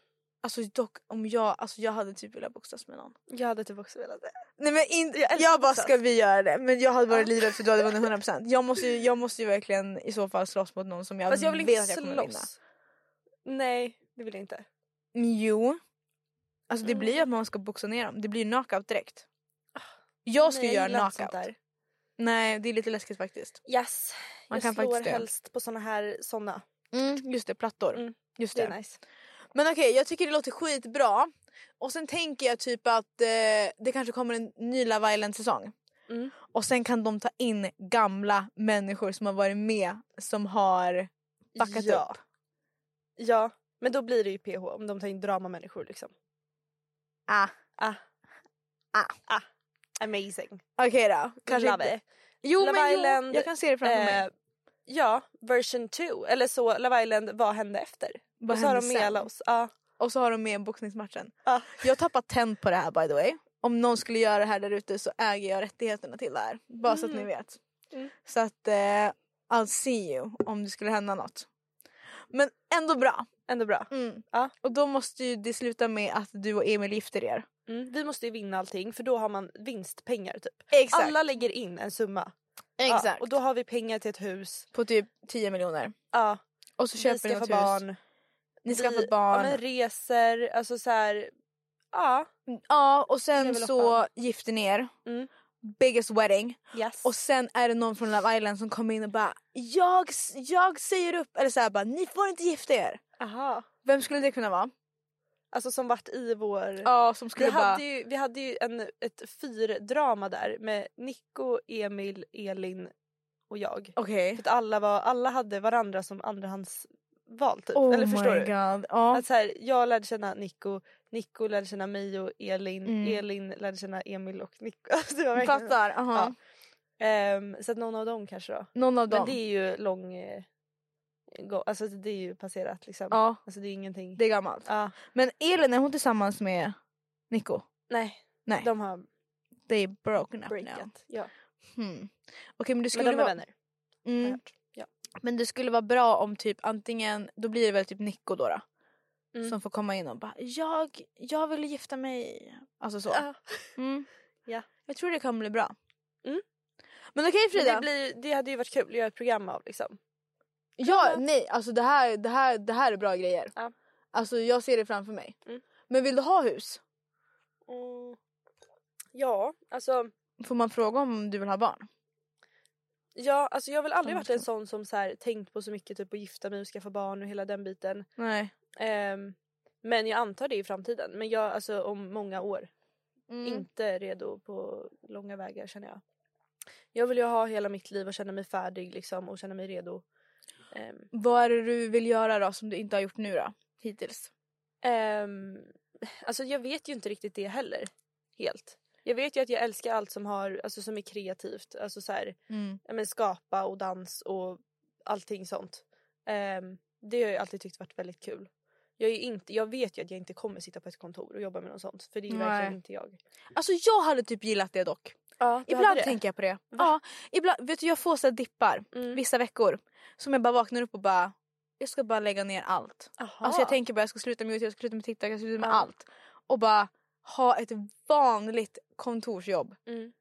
Speaker 1: Alltså dock om jag, alltså jag hade typ velat boxas med någon.
Speaker 2: Jag hade typ också velat det.
Speaker 1: Nej men inte, jag,
Speaker 2: älskar
Speaker 1: bara
Speaker 2: boxas.
Speaker 1: ska vi göra det? Men jag hade varit livet för du hade vunnit 100%. Jag måste ju, jag måste ju verkligen i så fall slåss mot någon som jag,
Speaker 2: Fast jag vill
Speaker 1: vet
Speaker 2: inte
Speaker 1: att jag kommer vinna.
Speaker 2: slåss. Nej, det vill jag inte.
Speaker 1: Men Jo. Alltså det
Speaker 2: Mm.
Speaker 1: blir ju att man ska boxa ner dem. Det blir ju knockout direkt. Jag ska
Speaker 2: Ah. Nej,
Speaker 1: ju göra
Speaker 2: gillar inte sånt
Speaker 1: knockout. Nej det är lite läskigt faktiskt.
Speaker 2: Yes.
Speaker 1: Man
Speaker 2: jag
Speaker 1: kan
Speaker 2: slår
Speaker 1: faktiskt dö.
Speaker 2: helst på såna här såna.
Speaker 1: Mm, just det, plattor.
Speaker 2: Mm.
Speaker 1: Just
Speaker 2: Det
Speaker 1: det.
Speaker 2: är nice.
Speaker 1: Men okej, jag tycker det låter skitbra. Och sen tänker jag typ att eh, det kanske kommer en ny Love Island-säsong.
Speaker 2: Mm.
Speaker 1: Och sen kan de ta in gamla människor som har varit med som har backat
Speaker 2: Ja.
Speaker 1: upp.
Speaker 2: Ja, men då blir det ju PH om de tar in dramamänniskor liksom.
Speaker 1: Ah.
Speaker 2: Ah.
Speaker 1: Ah.
Speaker 2: ah. Amazing.
Speaker 1: Okej då.
Speaker 2: Kanske
Speaker 1: inte-
Speaker 2: Love it.
Speaker 1: Jo
Speaker 2: Love
Speaker 1: men
Speaker 2: Island,
Speaker 1: jo, jag kan se det framför mig.
Speaker 2: Eh, ja, version 2. Eller så Love Island, vad hände efter?
Speaker 1: Vad
Speaker 2: och så har
Speaker 1: hände
Speaker 2: de med
Speaker 1: sen?
Speaker 2: alla oss. Ja.
Speaker 1: Och så har de med boxningsmatchen.
Speaker 2: Ja.
Speaker 1: Jag har tappat tänd på det här by the way. Om någon skulle göra det här där ute så äger jag rättigheterna till det här. Bara så att ni vet.
Speaker 2: Mm.
Speaker 1: Så att eh, I'll see you om det skulle hända något. Men ändå bra.
Speaker 2: Ändå bra.
Speaker 1: Mm.
Speaker 2: Ja.
Speaker 1: Och då måste ju det sluta med att du och Emil gifter er.
Speaker 2: Mm. Vi måste ju vinna allting för då har man vinstpengar typ.
Speaker 1: Exakt.
Speaker 2: Alla lägger in en summa. Ja,
Speaker 1: Exakt.
Speaker 2: och då har vi pengar till ett hus.
Speaker 1: På typ 10 miljoner.
Speaker 2: Ja,
Speaker 1: Och så
Speaker 2: vi
Speaker 1: köper ni
Speaker 2: skaffar
Speaker 1: något
Speaker 2: barn.
Speaker 1: hus. Ni
Speaker 2: Vi-
Speaker 1: skaffar
Speaker 2: Ja,
Speaker 1: barn.
Speaker 2: men reser, alltså så här. Ja.
Speaker 1: Ja och sen
Speaker 2: Det är väl
Speaker 1: så gifter ni er.
Speaker 2: Mm.
Speaker 1: Biggest wedding.
Speaker 2: Yes.
Speaker 1: Och sen är det någon från Love Island som kommer in och bara jag, jag säger upp. Eller så här bara ni får inte gifta er.
Speaker 2: aha.
Speaker 1: Vem skulle det kunna vara?
Speaker 2: Alltså som vart i vår...
Speaker 1: Ja som
Speaker 2: Vi
Speaker 1: skulle bara.
Speaker 2: hade, ju, vi hade ju en, ett fyrdrama där med Nico, Emil, Elin och jag.
Speaker 1: Okej.
Speaker 2: För att alla, var, alla hade varandra som andrahandsval typ.
Speaker 1: Oh
Speaker 2: Eller förstår
Speaker 1: my
Speaker 2: du? Alltså,
Speaker 1: god. Ja.
Speaker 2: Att så här, jag lärde känna Nico, Nico lärde känna mig och Elin,
Speaker 1: Mm.
Speaker 2: Elin lärde känna Emil och Nico. Alltså, det var verkligen-
Speaker 1: Fattar. aha.
Speaker 2: Ja. Ehm, så att någon av dem kanske då.
Speaker 1: Någon av dem.
Speaker 2: Men det är ju lång... Eh, gå- alltså det är ju passerat liksom.
Speaker 1: Ja
Speaker 2: Alltså det är ingenting.
Speaker 1: det är gammalt.
Speaker 2: Ja.
Speaker 1: Men Elin är hon tillsammans med Nico?
Speaker 2: nej,
Speaker 1: Nej.
Speaker 2: de har
Speaker 1: They broken up now.
Speaker 2: breakat. Ja.
Speaker 1: Hmm. Okej men det
Speaker 2: Men
Speaker 1: skulle
Speaker 2: de är
Speaker 1: vara...
Speaker 2: vänner. har jag
Speaker 1: Mm.
Speaker 2: hört. Ja.
Speaker 1: Men det skulle vara bra om typ antingen, då blir det väl typ Nico då, då
Speaker 2: Mm.
Speaker 1: som får komma in och bara jag, jag vill gifta mig. Alltså så.
Speaker 2: Ja.
Speaker 1: Mm.
Speaker 2: Ja.
Speaker 1: Jag tror det kommer bli bra.
Speaker 2: Mm.
Speaker 1: Men okej
Speaker 2: Men
Speaker 1: Frida.
Speaker 2: det, blir, det hade ju varit kul att göra ett program av liksom.
Speaker 1: Ja nej alltså det här, det här, det här är bra grejer.
Speaker 2: Ja.
Speaker 1: Alltså jag ser det framför mig.
Speaker 2: Mm.
Speaker 1: Men vill du ha hus? Mm.
Speaker 2: Ja, alltså.
Speaker 1: Får man fråga om du vill ha barn?
Speaker 2: Ja, alltså jag har väl aldrig
Speaker 1: Ja,
Speaker 2: varit en sån som så här, tänkt på så mycket typ att gifta mig och skaffa barn och hela den biten.
Speaker 1: Nej.
Speaker 2: Ehm, men jag antar det i framtiden. Men jag, alltså om många år.
Speaker 1: Mm.
Speaker 2: Inte redo på långa vägar känner jag. Jag vill ju ha hela mitt liv och känna mig färdig liksom och känna mig redo. Ehm,
Speaker 1: Vad är det du vill göra då som du inte har gjort nu då? Hittills.
Speaker 2: ehm, alltså jag vet ju inte riktigt det heller. Helt. Jag vet ju att jag älskar allt som, har, alltså, som är kreativt. Alltså så här, ja, men skapa och dans och allting sånt. Ehm, det har jag alltid tyckt varit väldigt kul. Jag, är ju inte, jag vet ju att jag inte kommer sitta på ett kontor och jobba med något sånt för det är ju
Speaker 1: Nej.
Speaker 2: verkligen inte jag.
Speaker 1: Alltså jag hade typ gillat det dock.
Speaker 2: Ja, du hade
Speaker 1: Ibland
Speaker 2: det.
Speaker 1: tänker jag på det. Ja, ibland, vet du, jag får så här dippar
Speaker 2: Mm.
Speaker 1: vissa veckor. Som jag bara vaknar upp och bara, jag ska bara lägga ner allt.
Speaker 2: Aha.
Speaker 1: Alltså jag tänker bara jag ska sluta med Youtube, jag ska sluta med TikTok, jag ska sluta med
Speaker 2: Ja.
Speaker 1: allt. Och bara ha ett vanligt kontorsjobb.
Speaker 2: Mm.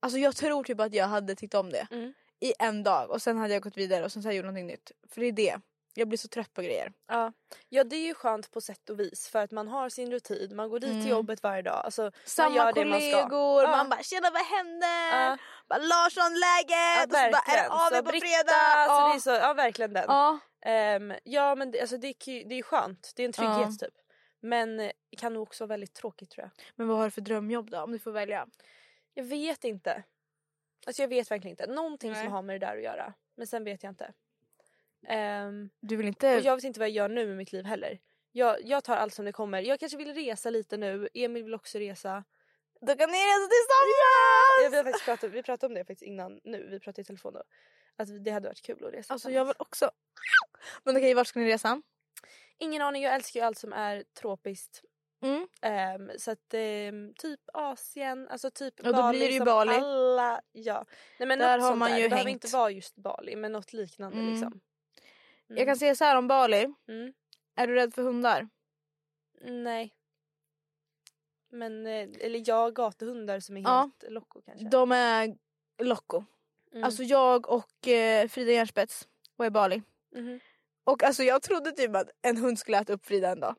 Speaker 1: Alltså jag tror typ att jag hade tyckt om det.
Speaker 2: Mm.
Speaker 1: I en dag och sen hade jag gått vidare och sen så hade jag gjort någonting nytt. För det är det. Jag blir så trött på grejer.
Speaker 2: ja. ja, det är ju skönt på sätt och vis för att man har sin rutin, man går dit
Speaker 1: Mm.
Speaker 2: till jobbet varje dag. Alltså, man
Speaker 1: Samma
Speaker 2: gör det man ska. Ah.
Speaker 1: kollegor,
Speaker 2: Ja.
Speaker 1: man, bara tjena vad händer?
Speaker 2: Ja.
Speaker 1: Bara Larsson-läget!
Speaker 2: Ja,
Speaker 1: och så bara är det
Speaker 2: verkligen.
Speaker 1: av
Speaker 2: Så
Speaker 1: på
Speaker 2: Britta,
Speaker 1: fredag!
Speaker 2: Alltså,
Speaker 1: Ja.
Speaker 2: det är så, ja, verkligen den.
Speaker 1: Ja.
Speaker 2: Ehm, ja men det, alltså, det, är, ku- det är skönt, det är en trygghet typ. Men eh, kan nog också vara väldigt tråkigt tror jag.
Speaker 1: Men vad har du för drömjobb då? Om du får välja.
Speaker 2: Jag vet inte. Alltså jag vet verkligen inte. Någonting
Speaker 1: Nej.
Speaker 2: som har med det där att göra. Men sen vet jag inte. Ehm,
Speaker 1: Du vill inte...
Speaker 2: och jag vet inte vad jag gör nu med mitt liv heller. Jag, jag tar allt som det kommer. Jag kanske vill resa lite nu. Emil vill också resa.
Speaker 1: Då kan ni resa tillsammans!
Speaker 2: Ja, vi, har faktiskt pratat, vi pratade om det faktiskt innan nu. Vi pratade i telefon då. Att det hade varit kul att resa
Speaker 1: Alltså jag
Speaker 2: tillsammans.
Speaker 1: vill också... Men okej, vart ska ni resa?
Speaker 2: Ingen aning. Jag älskar ju allt som är tropiskt.
Speaker 1: Mm.
Speaker 2: Ehm, så att ehm, typ Asien, alltså typ
Speaker 1: Ja, då blir det ju
Speaker 2: som
Speaker 1: Bali.
Speaker 2: alla... Ja. Nej, men
Speaker 1: Där
Speaker 2: något
Speaker 1: har
Speaker 2: sånt
Speaker 1: man ju
Speaker 2: Det behöver
Speaker 1: hängt.
Speaker 2: inte vara just Bali men något liknande
Speaker 1: Mm.
Speaker 2: liksom. Mm.
Speaker 1: Jag kan säga så här om Bali.
Speaker 2: Mm.
Speaker 1: Är du rädd för hundar?
Speaker 2: Nej. Men, eh, eller ja, gatuhundar som är
Speaker 1: Ja.
Speaker 2: helt locko kanske.
Speaker 1: De är loco.
Speaker 2: Mm.
Speaker 1: Alltså jag och eh, Frida Järnspets var i Bali.
Speaker 2: Mhm.
Speaker 1: Och alltså jag trodde typ att en hund skulle äta upp Frida en dag.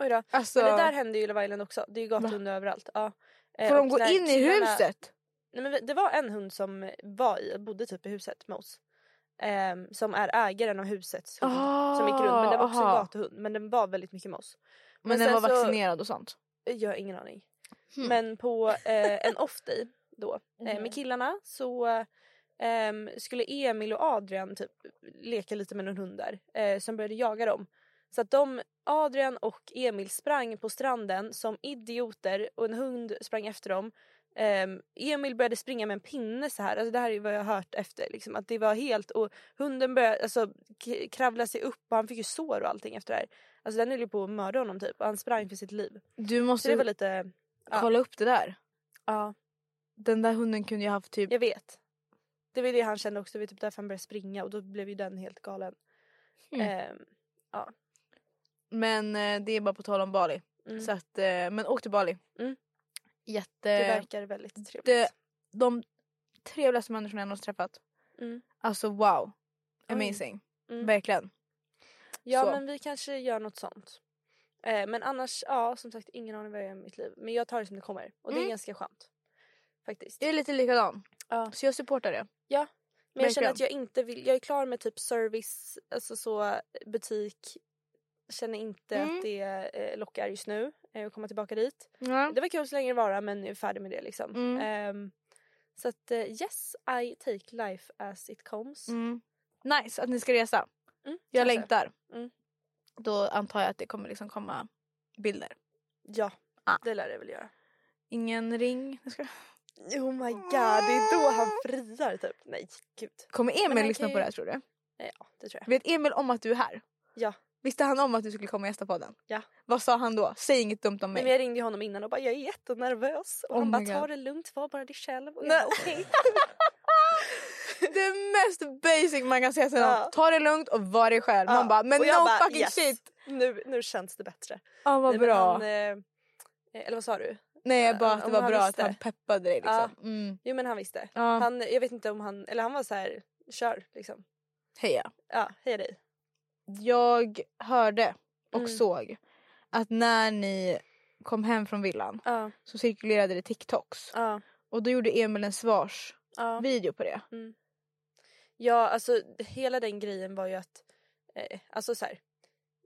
Speaker 2: Oj då.
Speaker 1: Alltså,
Speaker 2: Men det där händer ju i Love Island också. Det är ju gatuhundar överallt. Ja. Eh,
Speaker 1: får de
Speaker 2: och
Speaker 1: gå
Speaker 2: när
Speaker 1: in i
Speaker 2: killarna-
Speaker 1: huset?
Speaker 2: Nej, men vi- det var en hund som var i, bodde typ i huset med oss. Ehm, som är ägaren av husets hund. som gick runt. Men det var också en
Speaker 1: Ah, aha.
Speaker 2: gatuhund. Men den var väldigt mycket med oss.
Speaker 1: Men,
Speaker 2: Men
Speaker 1: den var
Speaker 2: sen så-
Speaker 1: vaccinerad och sånt.
Speaker 2: Jag har ingen aning.
Speaker 1: Hmm.
Speaker 2: Men på eh, en off-day då eh,
Speaker 1: Mhm.
Speaker 2: med killarna så ehm, skulle Emil och Adrian typ leka lite med någon hund där eh, som började jaga dem. Så att de, Adrian och Emil sprang på stranden som idioter och en hund sprang efter dem. Ehm, Emil började springa med en pinne så här. Alltså det här är vad jag har hört efter. Liksom, att det var helt, och hunden började alltså, k- kravla sig upp och han fick ju sår och allting efter det här. Alltså den höll ju på att mörda honom typ och han sprang för sitt liv.
Speaker 1: Du
Speaker 2: Så
Speaker 1: måste
Speaker 2: det var lite, ja.
Speaker 1: kolla upp det där.
Speaker 2: ja
Speaker 1: Den där hunden kunde ju haft typ...
Speaker 2: jag vet. Det var ju det han kände också. Det var typ därför han började springa och då blev ju den helt galen.
Speaker 1: Mm.
Speaker 2: Ehm,
Speaker 1: Men eh, det är bara på tal om Bali.
Speaker 2: mm.
Speaker 1: Så att, eh, men åk till Bali.
Speaker 2: Mm.
Speaker 1: Jätte...
Speaker 2: det verkar väldigt trevligt.
Speaker 1: Eh, det- de trevligaste människorna jag någonsin träffat.
Speaker 2: Mm.
Speaker 1: Alltså wow.
Speaker 2: Oj.
Speaker 1: Amazing.
Speaker 2: Mm.
Speaker 1: Verkligen.
Speaker 2: ja
Speaker 1: så.
Speaker 2: men vi kanske gör något sånt. Eh, men annars, ja som sagt ingen aning vad jag gör i mitt liv. Men jag tar det som det kommer och det
Speaker 1: Mm.
Speaker 2: är ganska skönt. Faktiskt.
Speaker 1: Jag är lite likadan.
Speaker 2: Ja.
Speaker 1: Så jag supportar det.
Speaker 2: Men jag känner
Speaker 1: verkligen.
Speaker 2: att jag inte vill, jag är klar med typ service, alltså så butik. Känner inte
Speaker 1: Mm.
Speaker 2: att det eh, lockar just nu eh, att komma tillbaka dit.
Speaker 1: Ja.
Speaker 2: Det var kul så länge det var men jag är färdig med det liksom.
Speaker 1: Mm.
Speaker 2: Ehm, så att eh, yes, I take life as it comes.
Speaker 1: Mm. Nice att ni ska resa.
Speaker 2: Mm,
Speaker 1: Jag
Speaker 2: kanske.
Speaker 1: längtar.
Speaker 2: Mm.
Speaker 1: Då antar jag att det kommer liksom komma bilder.
Speaker 2: Ja,
Speaker 1: Ah.
Speaker 2: det lär det väl göra.
Speaker 1: Ingen ring. Jag skojar.
Speaker 2: Oh my god, det är då han friar typ. Nej, gud.
Speaker 1: Kommer
Speaker 2: Men
Speaker 1: Emil
Speaker 2: han
Speaker 1: lyssna
Speaker 2: kan
Speaker 1: på
Speaker 2: ju-
Speaker 1: det här tror du?
Speaker 2: Eh, Ja, det tror jag.
Speaker 1: Vet Emil om att du är här?
Speaker 2: Ja.
Speaker 1: Visste han om att du skulle komma och gästa podden?
Speaker 2: Ja.
Speaker 1: Vad sa han då? Säg inget dumt om mig.
Speaker 2: Nej, men jag ringde ju honom innan och bara jag är jättenervös. Och
Speaker 1: Oh
Speaker 2: han
Speaker 1: my
Speaker 2: bara
Speaker 1: God.
Speaker 2: ta det lugnt, var bara dig själv. Och jag
Speaker 1: Nej.
Speaker 2: bara okej.
Speaker 1: Det mest basic man kan säga till någon.
Speaker 2: Ja.
Speaker 1: Ta det lugnt och var dig själv. Man
Speaker 2: Ja,
Speaker 1: bara men
Speaker 2: och jag
Speaker 1: no
Speaker 2: bara,
Speaker 1: fucking
Speaker 2: yes.
Speaker 1: shit.
Speaker 2: Nu, nu känns det bättre.
Speaker 1: Ja vad
Speaker 2: Nej, men
Speaker 1: bra.
Speaker 2: Han, eh, eh, eller vad sa du?
Speaker 1: Nej jag bara
Speaker 2: han-
Speaker 1: att det
Speaker 2: om
Speaker 1: var
Speaker 2: han
Speaker 1: bra att
Speaker 2: visste.
Speaker 1: han peppade dig liksom.
Speaker 2: Ja.
Speaker 1: Mm.
Speaker 2: Jo men han visste.
Speaker 1: Ja.
Speaker 2: Han, jag vet inte om han, eller han var så här, kör liksom.
Speaker 1: Heja.
Speaker 2: Ja, hej dig.
Speaker 1: Jag hörde och
Speaker 2: Mm.
Speaker 1: såg att när ni kom hem från villan
Speaker 2: Ja,
Speaker 1: så cirkulerade det TikToks.
Speaker 2: ja,
Speaker 1: Och då gjorde Emil en svarsvideo
Speaker 2: ja.
Speaker 1: på det.
Speaker 2: Ja, alltså hela den grejen var ju att eh, alltså så här,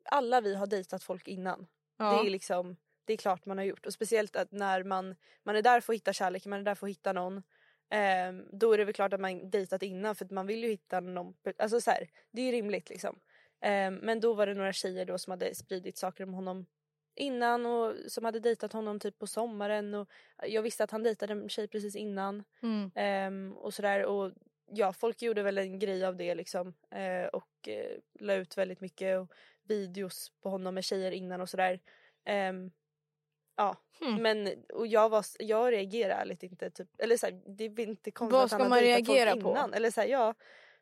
Speaker 2: alla vi har dejtat folk innan.
Speaker 1: Ja.
Speaker 2: Det är liksom det är klart man har gjort och speciellt att när man man är där för att hitta kärlek, man är där för att hitta någon. ehm, då är det väl klart att man dejtat innan för att man vill ju hitta någon. Alltså så här, det är ju rimligt liksom. Ehm, men då var det några tjejer då som hade spridit saker om honom innan och som hade dejtat honom typ på sommaren och jag visste att han dejtade en tjej precis innan.
Speaker 1: Mm.
Speaker 2: Ehm, och sådär. Och ja, folk gjorde väl en grej av det liksom. Eh, och eh, la ut väldigt mycket och videos på honom med tjejer innan och sådär. Ehm, ja,
Speaker 1: Hmm.
Speaker 2: men och jag, var, s- jag reagerar lite inte typ. Eller såhär, det är väl inte konstigt
Speaker 1: Vad
Speaker 2: att han
Speaker 1: ska
Speaker 2: har
Speaker 1: man
Speaker 2: dejtat folk
Speaker 1: reagera på?
Speaker 2: Innan. Eller såhär, ja.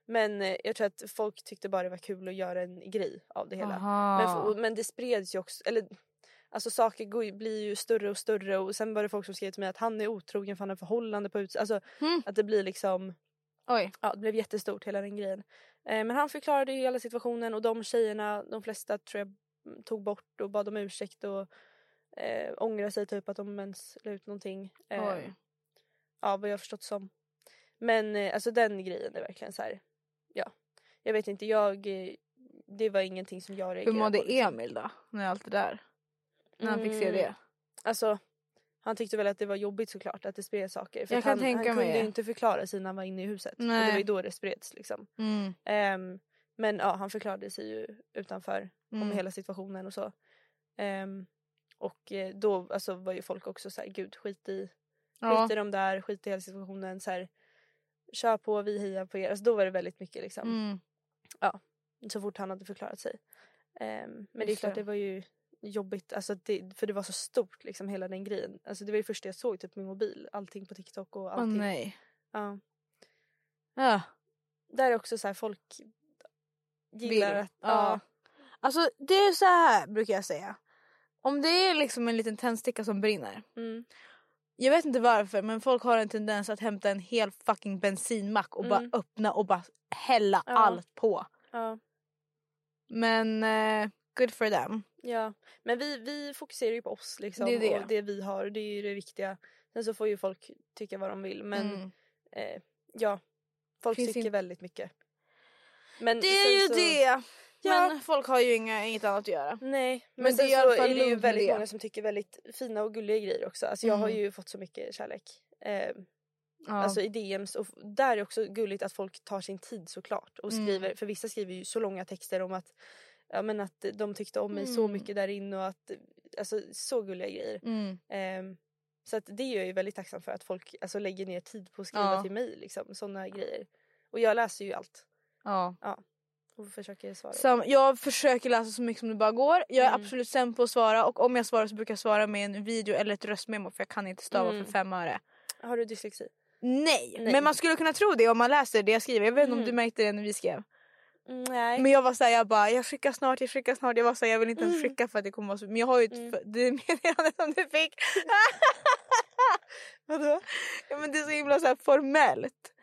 Speaker 2: Men eh, jag tror att folk tyckte bara det var kul att göra en grej av det hela.
Speaker 1: Aha.
Speaker 2: Men, för- och- men det spreds ju också, eller alltså saker går, ju- blir ju större och större och sen var det folk som skrev till mig att han är otrogen för han har förhållande på utsidan. Alltså
Speaker 1: Mm.
Speaker 2: att det blir liksom,
Speaker 1: Oj.
Speaker 2: ja det blev jättestort hela den grejen. Eh, men han förklarade ju hela situationen och de tjejerna, de flesta tror jag mm, tog bort och bad om ursäkt och eh, ångrade sig typ att de ens la ut någonting. Eh,
Speaker 1: Oj.
Speaker 2: Ja vad jag har förstått som. Men eh, alltså den grejen är verkligen så här. ja. Jag vet inte, jag, eh, det var ingenting som jag reagerade
Speaker 1: Hur mådde
Speaker 2: på. liksom.
Speaker 1: Emil då? När allt det där? när han fick se det?
Speaker 2: Mm. Alltså han tyckte väl att det var jobbigt såklart att det spreds saker. För
Speaker 1: Jag
Speaker 2: att
Speaker 1: kan
Speaker 2: han,
Speaker 1: tänka
Speaker 2: han kunde
Speaker 1: mig
Speaker 2: ju
Speaker 1: det.
Speaker 2: inte förklara sig när han var inne i huset. Och det
Speaker 1: Nej.
Speaker 2: var ju då det spreds liksom.
Speaker 1: Mm.
Speaker 2: Ehm, men ja, han förklarade sig ju utanför om
Speaker 1: Mm.
Speaker 2: hela situationen och så. Ehm, och eh, då alltså, var ju folk också såhär, gud skit i,
Speaker 1: Ja.
Speaker 2: skit i de där, skit i hela situationen. Så här, Kör på, vi hejar på er. Alltså, då var det väldigt mycket liksom.
Speaker 1: Mm.
Speaker 2: Så fort han hade förklarat sig. Ehm, men det är
Speaker 1: Just
Speaker 2: klart
Speaker 1: det.
Speaker 2: det var ju jobbigt, alltså att det, för det var så stort liksom hela den grejen. Alltså det var ju första jag såg typ min mobil, allting på TikTok och
Speaker 1: Åh
Speaker 2: allting.
Speaker 1: nej.
Speaker 2: Ja.
Speaker 1: Ja.
Speaker 2: Där är också så här folk gillar
Speaker 1: Vill.
Speaker 2: att,
Speaker 1: Ja.
Speaker 2: ja.
Speaker 1: Alltså det är så här brukar jag säga. Om det är liksom en liten tändsticka som brinner.
Speaker 2: Mm.
Speaker 1: Jag vet inte varför men folk har en tendens att hämta en hel fucking bensinmack och
Speaker 2: Mm.
Speaker 1: bara öppna och bara hälla
Speaker 2: Ja.
Speaker 1: allt på.
Speaker 2: ja.
Speaker 1: Men eh, good for them.
Speaker 2: Ja, men vi, vi fokuserar ju på oss liksom
Speaker 1: Det är det.
Speaker 2: och det vi har, det är ju det viktiga. Sen så får ju folk tycka vad de vill men
Speaker 1: Mm.
Speaker 2: eh, ja, folk
Speaker 1: Finns
Speaker 2: tycker
Speaker 1: in-
Speaker 2: väldigt mycket. Men
Speaker 1: Det är
Speaker 2: sen
Speaker 1: ju
Speaker 2: så-
Speaker 1: det.
Speaker 2: Ja.
Speaker 1: Men folk har ju inga, inget annat att göra.
Speaker 2: Nej, men,
Speaker 1: Men det
Speaker 2: sen
Speaker 1: är i alla
Speaker 2: så
Speaker 1: fall
Speaker 2: är det
Speaker 1: lugn
Speaker 2: ju
Speaker 1: med
Speaker 2: väldigt
Speaker 1: det.
Speaker 2: många som tycker väldigt fina och gulliga grejer också. Alltså jag har
Speaker 1: Mm.
Speaker 2: ju fått så mycket kärlek. Eh,
Speaker 1: Ja.
Speaker 2: Alltså i DMs och f- där är också gulligt att folk tar sin tid såklart och
Speaker 1: Mm.
Speaker 2: skriver, för vissa skriver ju så långa texter om att Ja men att de tyckte om mig så
Speaker 1: Mm.
Speaker 2: mycket där inne och att alltså så gulliga grejer.
Speaker 1: mm.
Speaker 2: Ehm, så att det är jag ju väldigt tacksam för att folk alltså, lägger ner tid på att skriva
Speaker 1: Ja.
Speaker 2: till mig. Liksom, Sådana grejer. Och jag läser ju allt
Speaker 1: ja.
Speaker 2: och försöker svara.
Speaker 1: Sam, jag försöker läsa så mycket som det bara går. Jag är
Speaker 2: Mm.
Speaker 1: absolut sämst på att svara och om jag svarar så brukar jag svara med en video eller ett röstmemo för jag kan inte stava
Speaker 2: Mm.
Speaker 1: för fem öre.
Speaker 2: Har du dyslexi?
Speaker 1: Nej.
Speaker 2: Nej.
Speaker 1: men man skulle kunna tro det om man läser det jag skriver. Jag vet inte
Speaker 2: Mm.
Speaker 1: om du märkte det när vi skrev.
Speaker 2: Nej.
Speaker 1: Men jag var såhär, jag bara jag skickar snart, jag skickar snart. Jag var såhär, jag vill inte ens
Speaker 2: Mm.
Speaker 1: skicka för att det kommer vara så. Men jag har ju ett
Speaker 2: Mm.
Speaker 1: f- det meddelande som du fick. Vadå? Ja men det är så himla så här formellt.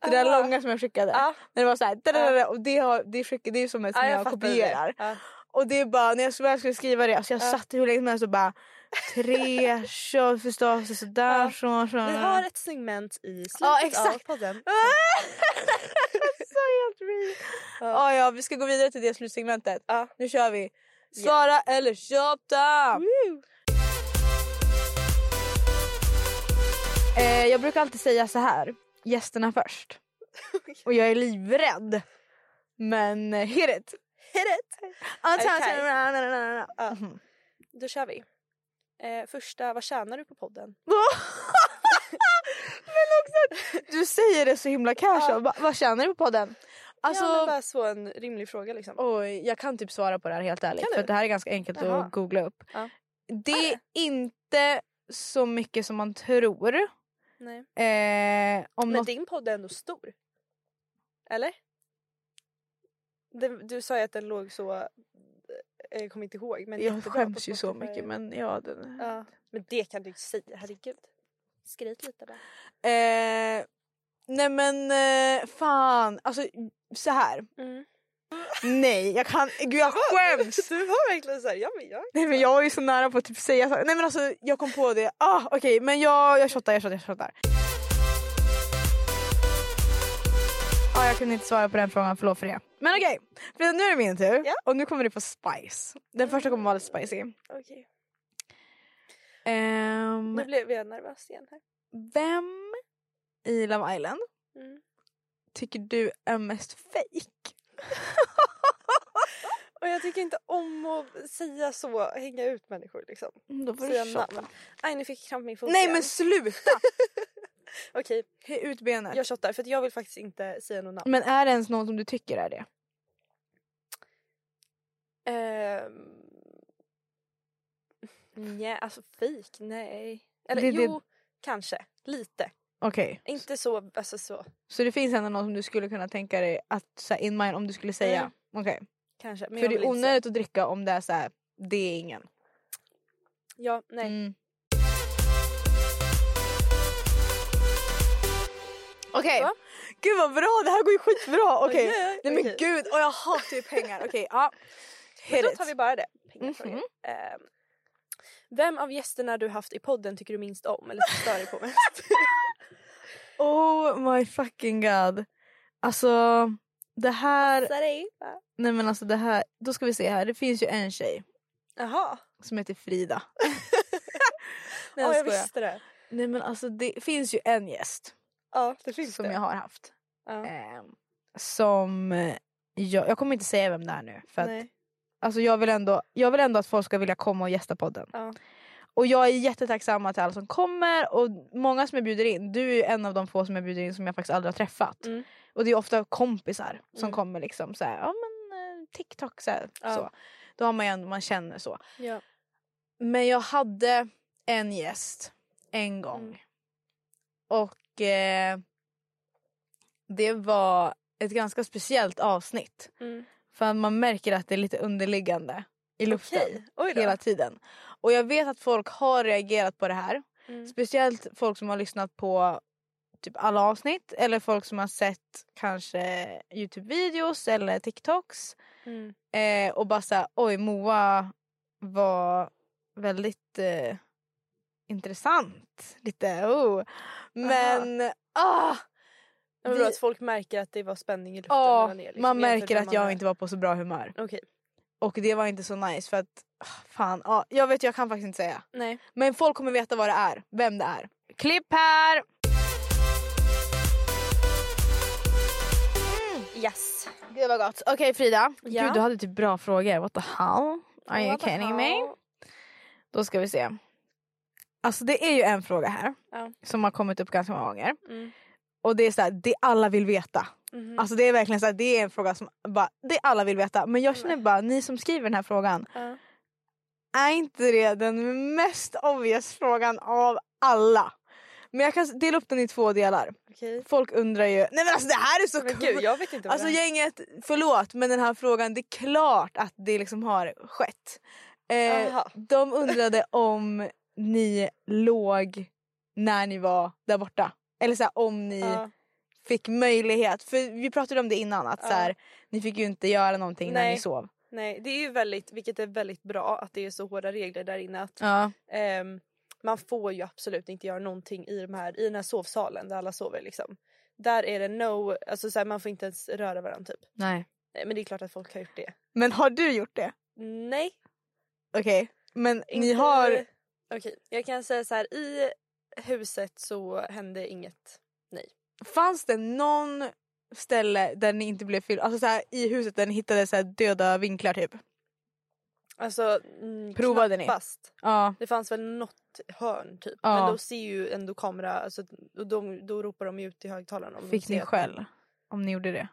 Speaker 1: Det där
Speaker 2: Ah.
Speaker 1: långa som jag skickade.
Speaker 2: Ja,
Speaker 1: När det var såhär, dadadada, och det, har, det, skickade, det är som ett som
Speaker 2: ja,
Speaker 1: jag,
Speaker 2: fattar det. Ah.
Speaker 1: kopierar.
Speaker 2: Ja.
Speaker 1: Och det är bara, när jag så väl skulle skriva det, alltså jag
Speaker 2: Ja.
Speaker 1: satt hur länge som helst och bara tre, så, förstås, så, sådär,
Speaker 2: Ja.
Speaker 1: så, så.
Speaker 2: Ah. Vi har ett segment i slutet
Speaker 1: Ja, exakt.
Speaker 2: av podden.
Speaker 1: så helt real.
Speaker 2: Ja.
Speaker 1: Ja. ja, vi ska gå vidare till det slutsegmentet.
Speaker 2: Ja.
Speaker 1: Nu kör vi. Svara eller köpta! Eh, jag brukar alltid säga så här, gästerna först. Och jag är livrädd. Men eh, hit it! Hit it!
Speaker 2: Okay.
Speaker 1: Okay.
Speaker 2: Ja.
Speaker 1: Mhm.
Speaker 2: Då kör vi. Eh, första, vad tjänar du på podden?
Speaker 1: men också att du säger det så himla casual. Va, vad tjänar du på podden? Alltså,
Speaker 2: ja, men bara så en rimlig fråga liksom.
Speaker 1: oj, jag kan typ svara på det här helt ärligt.
Speaker 2: Kan du?
Speaker 1: För att det här är ganska enkelt
Speaker 2: Jaha.
Speaker 1: att googla upp.
Speaker 2: Ja.
Speaker 1: Det är inte så mycket som man tror.
Speaker 2: Nej.
Speaker 1: Eh, om
Speaker 2: Men
Speaker 1: något...
Speaker 2: din podd är ändå stor. Eller? Den, du sa ju att den låg så... eh, Jag kommer inte ihåg. Men
Speaker 1: Jag
Speaker 2: jättebra på
Speaker 1: skäms ju så
Speaker 2: Spotify.
Speaker 1: mycket men ja. Den...
Speaker 2: Ja. Men det kan du inte säga, herregud. Skryt lite bara.
Speaker 1: Eh, nej men eh, fan, alltså så här.
Speaker 2: Mm.
Speaker 1: Nej jag kan, gud jag skäms!
Speaker 2: Du var verkligen såhär, ja men jag...
Speaker 1: Nej men jag är ju så nära på att typ säga så. Nej men alltså jag kom på det. Ah, Okej men jag, jag shottar, jag shottar, jag shottar. Ah, jag kunde inte svara på den frågan, förlåt för det. Men okej, för nu är det min tur.
Speaker 2: Ja.
Speaker 1: Och nu kommer det på spice. Den första kommer vara lite spicy.
Speaker 2: Okej.
Speaker 1: Ehm,
Speaker 2: Nu blev jag nervös igen här.
Speaker 1: vem i Love Island
Speaker 2: Mm.
Speaker 1: tycker du är mest fake?
Speaker 2: Och jag tycker inte om att säga så, hänga ut människor liksom.
Speaker 1: Då får
Speaker 2: Säga
Speaker 1: du shotta.
Speaker 2: namn. Aj nu fick jag kramp i min fot
Speaker 1: Nej
Speaker 2: igen.
Speaker 1: men sluta!
Speaker 2: Okej,
Speaker 1: Hej ut benet.
Speaker 2: jag shottar för att jag vill faktiskt inte säga något namn.
Speaker 1: Men är det ens någon som du tycker är det?
Speaker 2: Ehm... Nej, alltså fik, nej. Eller
Speaker 1: Mm. Det- det-
Speaker 2: jo, kanske. Lite.
Speaker 1: Okej.
Speaker 2: Inte så, alltså så.
Speaker 1: Så det finns ändå någon som du skulle kunna tänka dig att så här, in mind om du skulle säga.
Speaker 2: Mm.
Speaker 1: Okej.
Speaker 2: Kanske. Men
Speaker 1: För
Speaker 2: jag
Speaker 1: det
Speaker 2: vill
Speaker 1: är
Speaker 2: inte säga.
Speaker 1: onödigt att dricka om det är så här, det är ingen.
Speaker 2: Ja, nej.
Speaker 1: Mm. Okej.
Speaker 2: Så.
Speaker 1: Gud vad bra, det här går ju skitbra. Okej.
Speaker 2: Oj, oj, oj,
Speaker 1: Nej men
Speaker 2: okej.
Speaker 1: gud, och jag hatar ju pengar. Okej, ja.
Speaker 2: Men
Speaker 1: Hit
Speaker 2: då
Speaker 1: it.
Speaker 2: tar vi bara det. Pengafrågor.
Speaker 1: Mhm.
Speaker 2: Ehm, vem av gästerna du haft i podden tycker du minst om eller stör dig på mest?
Speaker 1: Oh my fucking god. Alltså det här,
Speaker 2: Stör dig?
Speaker 1: nej men alltså det här, då ska vi se här. Det finns ju en tjej.
Speaker 2: Jaha.
Speaker 1: som heter Frida. Nej,
Speaker 2: Ja, jag
Speaker 1: skojar.
Speaker 2: visste det.
Speaker 1: Nej men alltså det finns ju en gäst
Speaker 2: Ja, det finns
Speaker 1: som
Speaker 2: det.
Speaker 1: jag har haft.
Speaker 2: Ja.
Speaker 1: ehm, som eh, jag, jag kommer inte säga vem det är nu. För att,
Speaker 2: Nej.
Speaker 1: alltså, jag, vill ändå, jag vill ändå att folk ska vilja komma och gästa podden.
Speaker 2: Ja.
Speaker 1: Och jag är jättetacksamma till alla som kommer och många som jag bjuder in. Du är ju en av de få som jag bjuder in som jag faktiskt aldrig har träffat.
Speaker 2: Mm.
Speaker 1: Och det är ofta kompisar som
Speaker 2: Mm.
Speaker 1: kommer liksom så här, ja men eh, TikTok så, här,
Speaker 2: Ja.
Speaker 1: så. Då har man ju en, man känner så.
Speaker 2: Ja.
Speaker 1: Men jag hade en gäst en gång.
Speaker 2: Mm.
Speaker 1: Och eh, det var ett ganska speciellt avsnitt.
Speaker 2: Mm.
Speaker 1: För man märker att det är lite underliggande i luften
Speaker 2: Okej, oj då.
Speaker 1: hela tiden. Och jag vet att folk har reagerat på det här.
Speaker 2: Mm.
Speaker 1: Speciellt folk som har lyssnat på typ alla avsnitt eller folk som har sett kanske Youtube-videos eller TikToks.
Speaker 2: Mm.
Speaker 1: Eh, och bara såhär, oj Moa var väldigt eh, intressant. Lite oh. Men ah,
Speaker 2: Det var
Speaker 1: Vi-
Speaker 2: bra att folk märker att det var spänning i luften.
Speaker 1: ah,
Speaker 2: mellan er, liksom,
Speaker 1: man
Speaker 2: jämfört
Speaker 1: märker
Speaker 2: med
Speaker 1: att jag
Speaker 2: andra.
Speaker 1: inte var på så bra humör.
Speaker 2: Okej.
Speaker 1: Och det var inte så nice för att ah, fan, ah, jag vet jag kan faktiskt inte säga.
Speaker 2: Nej.
Speaker 1: Men folk kommer veta vad det är, vem det är. Klipp här!
Speaker 2: Yes.
Speaker 1: Gud vad gott. Okej Frida,
Speaker 2: Ja.
Speaker 1: Gud, du hade typ bra frågor. What the hell? Are you
Speaker 2: What the
Speaker 1: kidding me?
Speaker 2: hell?
Speaker 1: Då ska vi se. Alltså det är ju en fråga här
Speaker 2: Ja.
Speaker 1: som har kommit upp ganska många gånger.
Speaker 2: Mm.
Speaker 1: Och det är så här, det alla vill veta.
Speaker 2: Mhm.
Speaker 1: Alltså det är verkligen så här, det är en fråga som bara, det alla vill veta. Men jag känner bara, ni som skriver den här frågan,
Speaker 2: Ja.
Speaker 1: är inte det den mest obvious frågan av alla? Men jag kan dela upp den i två delar.
Speaker 2: Okej.
Speaker 1: Folk undrar ju, nej men alltså det här är så
Speaker 2: Men
Speaker 1: kul.
Speaker 2: gud, jag vet inte vad
Speaker 1: Alltså
Speaker 2: det
Speaker 1: gänget, förlåt men den här frågan, det är klart att det liksom har skett. Eh,
Speaker 2: Aha.
Speaker 1: de undrade om ni låg när ni var där borta. Eller så här, om ni
Speaker 2: Ja.
Speaker 1: fick möjlighet. För vi pratade om det innan att så här, ni fick ju inte göra någonting när
Speaker 2: Nej.
Speaker 1: ni sov.
Speaker 2: Nej, det är ju väldigt, vilket är väldigt bra att det är så hårda regler där inne att
Speaker 1: Ja.
Speaker 2: ehm, man får ju absolut inte göra någonting i, de här, i den här sovsalen där alla sover liksom. Där är det no, alltså så här, man får inte ens röra varandra typ.
Speaker 1: Nej.
Speaker 2: Eh, Men det är klart att folk har gjort det.
Speaker 1: Men har du gjort det?
Speaker 2: Nej.
Speaker 1: Okej. Men ni
Speaker 2: inte-
Speaker 1: har...
Speaker 2: Okej, jag kan säga så här i huset så hände inget.
Speaker 1: Fanns det någon ställe där ni inte blev filmade? Alltså så här, i huset där ni hittade så här, döda vinklar typ?
Speaker 2: Alltså mm,
Speaker 1: Provade ni?
Speaker 2: knappast.
Speaker 1: Ja.
Speaker 2: Det fanns väl något hörn typ.
Speaker 1: Ja.
Speaker 2: Men då ser ju ändå kamera, alltså, och de, då ropar de ju ut i högtalaren. Om de
Speaker 1: Fick ni
Speaker 2: ser att-
Speaker 1: skäll? Om ni gjorde det?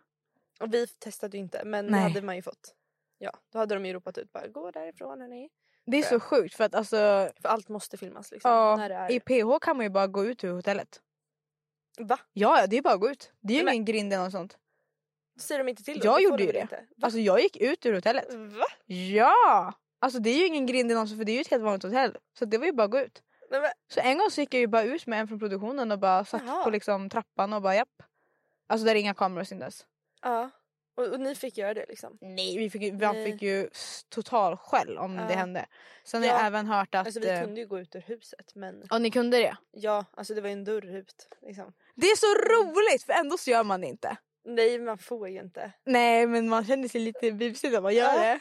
Speaker 2: Och vi testade ju inte men
Speaker 1: Nej.
Speaker 2: det hade man ju fått. Ja, då hade de ju ropat ut bara gå därifrån hörni.
Speaker 1: Det är så sjukt för att alltså...
Speaker 2: För allt måste filmas liksom.
Speaker 1: Ja,
Speaker 2: När det är...
Speaker 1: I PH kan man ju bara gå ut ur hotellet.
Speaker 2: Va?
Speaker 1: Ja, ja, det är bara att gå ut. Det är ju
Speaker 2: Men-
Speaker 1: ingen grind eller något sånt.
Speaker 2: Då säger de inte till då,
Speaker 1: Jag
Speaker 2: då får
Speaker 1: gjorde
Speaker 2: de
Speaker 1: ju
Speaker 2: väl
Speaker 1: det.
Speaker 2: Inte. Va?
Speaker 1: Alltså jag gick ut ur hotellet.
Speaker 2: Va?
Speaker 1: Ja! Alltså det är ju ingen grind eller något sånt, för det är ju ett helt vanligt hotell. Så det var ju bara att gå ut.
Speaker 2: Nej, men,
Speaker 1: Så en gång så gick jag ju bara ut med en från produktionen och bara satt
Speaker 2: Jaha.
Speaker 1: på liksom trappan och bara japp. Alltså där är inga kameror syndes.
Speaker 2: ja. Och, och ni fick göra det liksom.
Speaker 1: Nej vi fick ju, man
Speaker 2: Nej.
Speaker 1: fick ju s- total skäll om det
Speaker 2: Ja.
Speaker 1: hände. Sen har jag
Speaker 2: Ja.
Speaker 1: även hört att...
Speaker 2: Alltså vi
Speaker 1: eh,
Speaker 2: kunde ju gå ut ur huset men
Speaker 1: Ja ni kunde det?
Speaker 2: ja, alltså det var ju en dörr ut liksom.
Speaker 1: Det är så roligt för ändå så gör man det inte.
Speaker 2: Nej man får ju inte.
Speaker 1: Nej men man känner sig lite busig när man gör
Speaker 2: Ja.
Speaker 1: det.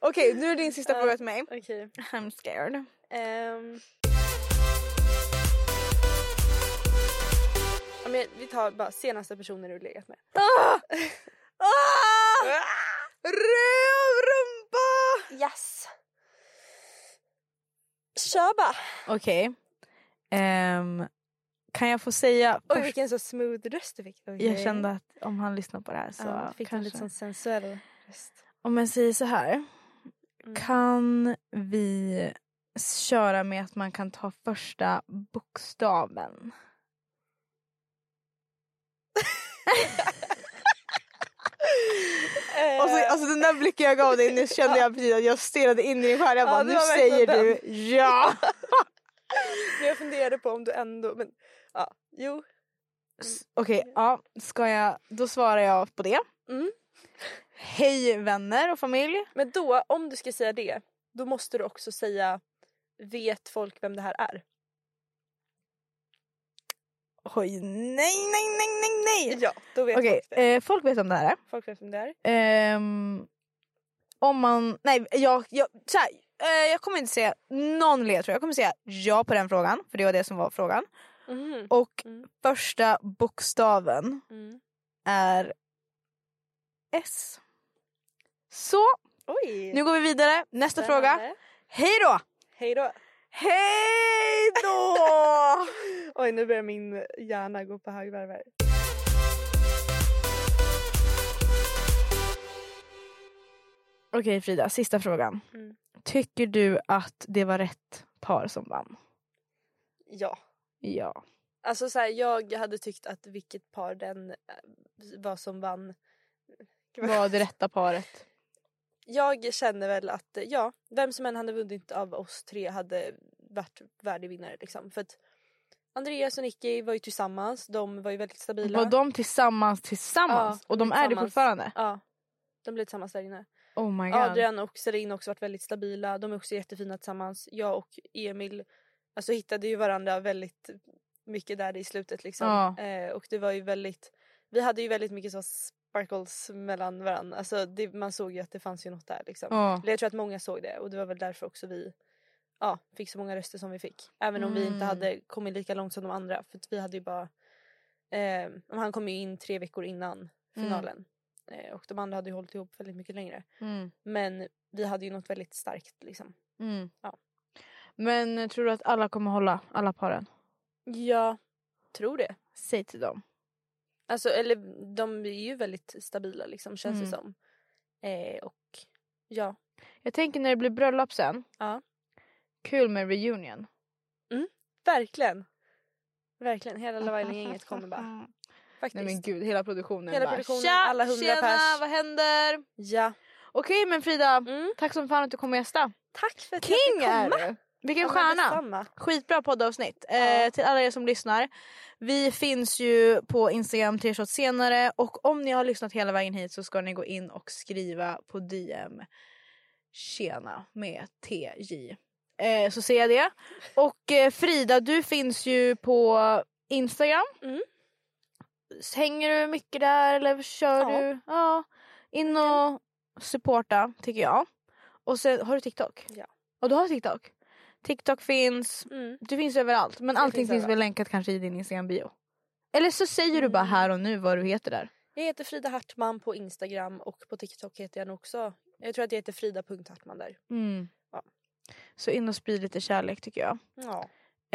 Speaker 1: Okej nu är din sista
Speaker 2: Ja.
Speaker 1: fråga till mig.
Speaker 2: Okej.
Speaker 1: I'm scared.
Speaker 2: Ehm. Ja, men vi tar bara senaste personen du legat med.
Speaker 1: Ah! Ah! Rövrumpa!
Speaker 2: Yes! Kör bara!
Speaker 1: Okej. Ehm, kan jag få säga
Speaker 2: Oj
Speaker 1: först-
Speaker 2: vilken så smooth röst du fick. Okej.
Speaker 1: Jag kände att om han lyssnar på det här så
Speaker 2: ja, du fick en
Speaker 1: kanske.
Speaker 2: lite sån sensuell röst.
Speaker 1: Om jag säger så här.
Speaker 2: Mm.
Speaker 1: Kan vi s- köra med att man kan ta första bokstaven?
Speaker 2: Eh.
Speaker 1: Och så, alltså den där blicken jag gav dig nu kände jag precis att jag stirrade in i din skärm. Jag
Speaker 2: Ja,
Speaker 1: bara,
Speaker 2: det
Speaker 1: nu
Speaker 2: var verkligen
Speaker 1: säger du ja.
Speaker 2: Eh, Men jag funderade på om du ändå, men ja, jo.
Speaker 1: S- Okej, ja, ska jag, då svarar jag på det.
Speaker 2: Mm.
Speaker 1: Hej vänner och familj.
Speaker 2: Men då, om du ska säga det, då måste du också säga Vet folk vem det här är?
Speaker 1: Oj, nej, nej, nej, nej, nej.
Speaker 2: Ja, då vet
Speaker 1: Okej,
Speaker 2: folk det.
Speaker 1: eh, folk vet om det här är.
Speaker 2: Folk vet vem det är.
Speaker 1: Ehm, om man... Nej, jag... jag så här, eh, jag kommer inte säga någon ledtråd. Jag kommer säga ja på den frågan, för det var det som var frågan.
Speaker 2: Mhm.
Speaker 1: Och
Speaker 2: Mm.
Speaker 1: första bokstaven
Speaker 2: Mm.
Speaker 1: är S. Så,
Speaker 2: Oj!
Speaker 1: nu går vi vidare. Nästa fråga.
Speaker 2: Spännande.
Speaker 1: Hej då!
Speaker 2: Hej då!
Speaker 1: Hej då!
Speaker 2: Oj, nu börjar min hjärna gå på högvarv här.
Speaker 1: Okej Frida, sista frågan.
Speaker 2: Mm.
Speaker 1: Tycker du att det var rätt par som vann?
Speaker 2: Ja.
Speaker 1: Ja.
Speaker 2: Alltså så här, jag hade tyckt att vilket par den eh, var som vann. Gud, vad-
Speaker 1: Var det rätta paret?
Speaker 2: Jag känner väl att eh, ja, vem som än hade vunnit av oss tre hade varit värdig vinnare liksom. För att Andreas och Nicky var ju tillsammans, de var ju väldigt stabila.
Speaker 1: Var de tillsammans tillsammans?
Speaker 2: Ja,
Speaker 1: och de är det
Speaker 2: tillsammans.
Speaker 1: fortfarande?
Speaker 2: Ja. De blev tillsammans där inne.
Speaker 1: Oh my god.
Speaker 2: Adrian och Selin har också varit väldigt stabila. De är också jättefina tillsammans. Jag och Emil alltså, hittade ju varandra väldigt mycket där i slutet. Liksom.
Speaker 1: Ja.
Speaker 2: Eh, och det var ju väldigt, vi hade ju väldigt mycket så sparkles mellan varandra. Alltså, det, man såg ju att det fanns ju något där. Liksom.
Speaker 1: Ja.
Speaker 2: Eller Jag tror att många såg det och det var väl därför också vi ja, fick så många röster som vi fick. Även om vi inte
Speaker 1: Mm.
Speaker 2: hade kommit lika långt som de andra. För att vi hade ju bara... Eh, han kom ju in tre veckor innan
Speaker 1: Mm.
Speaker 2: finalen. Eh, och de andra hade ju hållit ihop väldigt mycket längre.
Speaker 1: Mm.
Speaker 2: Men vi hade ju något väldigt starkt liksom.
Speaker 1: Mm.
Speaker 2: Ja.
Speaker 1: Men eh, tror du att alla kommer hålla, alla paren?
Speaker 2: Ja, tror det.
Speaker 1: Säg till dem.
Speaker 2: Alltså eller de är ju väldigt stabila liksom känns det
Speaker 1: Mm.
Speaker 2: som. Eh, och ja.
Speaker 1: Jag tänker när det blir bröllop sen.
Speaker 2: Ja.
Speaker 1: Kul med reunion.
Speaker 2: Verkligen. Verkligen. Hela Love Island-gänget kommer bara. Faktiskt.
Speaker 1: Nej men gud, hela produktionen
Speaker 2: Hela
Speaker 1: bara
Speaker 2: produktionen,
Speaker 1: "Tja,
Speaker 2: alla hundra
Speaker 1: tjena,
Speaker 2: pers."
Speaker 1: vad händer?
Speaker 2: Ja.
Speaker 1: Okej men Frida,
Speaker 2: Mm.
Speaker 1: tack som fan att du kom och gästa.
Speaker 2: Tack för att jag
Speaker 1: King
Speaker 2: fick
Speaker 1: är
Speaker 2: komma.
Speaker 1: du! Vilken
Speaker 2: Ja, men
Speaker 1: stjärna!
Speaker 2: detsamma.
Speaker 1: Skitbra poddavsnitt. Eh,
Speaker 2: Ja.
Speaker 1: till alla er som lyssnar. Vi finns ju på Instagram tre shots senare och om ni har lyssnat hela vägen hit så ska ni gå in och skriva på DM Tjena med TJ. Eh, så ser jag det. Och eh, Frida du finns ju på Instagram.
Speaker 2: Mm.
Speaker 1: Hänger du mycket där eller kör
Speaker 2: Ja.
Speaker 1: du? Ja. In och supporta tycker jag. Och sen har du TikTok?
Speaker 2: Ja.
Speaker 1: Och du har TikTok? TikTok finns,
Speaker 2: Mm.
Speaker 1: du finns överallt men allting finns,
Speaker 2: finns
Speaker 1: väl
Speaker 2: överallt. Mm.
Speaker 1: länkat kanske i din Instagram-bio. Eller så säger du bara här och nu vad du heter där.
Speaker 2: Jag heter Frida Hartman på Instagram och på TikTok heter jag nog också. Jag tror att jag heter Frida.Hartman där. Ja.
Speaker 1: Så in och sprid lite kärlek tycker jag.
Speaker 2: Ja.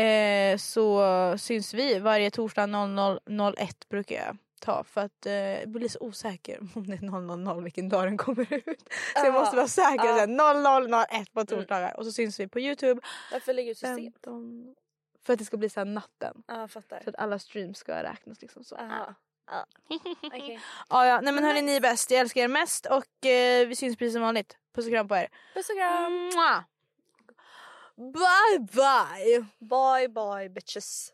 Speaker 1: Eh, så syns vi varje torsdag 00.01 brukar jag ta för att eh, jag blir så osäker om det är 000 vilken dag den kommer ut. Så jag
Speaker 2: Ja.
Speaker 1: måste vara säker.
Speaker 2: Ja.
Speaker 1: Ja. 00.01 på torsdagar och så syns vi på Youtube.
Speaker 2: Varför lägger du ut så sent?
Speaker 1: 15... För att det ska bli så här natten.
Speaker 2: Ja, jag fattar.
Speaker 1: För att alla streams ska räknas liksom så.
Speaker 2: Aha. Okej.
Speaker 1: Ja, ja. Nej men hörni ni är bäst, jag älskar er mest och eh, vi syns precis som vanligt. Puss och kram på er.
Speaker 2: Puss och kram.
Speaker 1: Mwah. Bye bye!
Speaker 2: Bye bye bitches.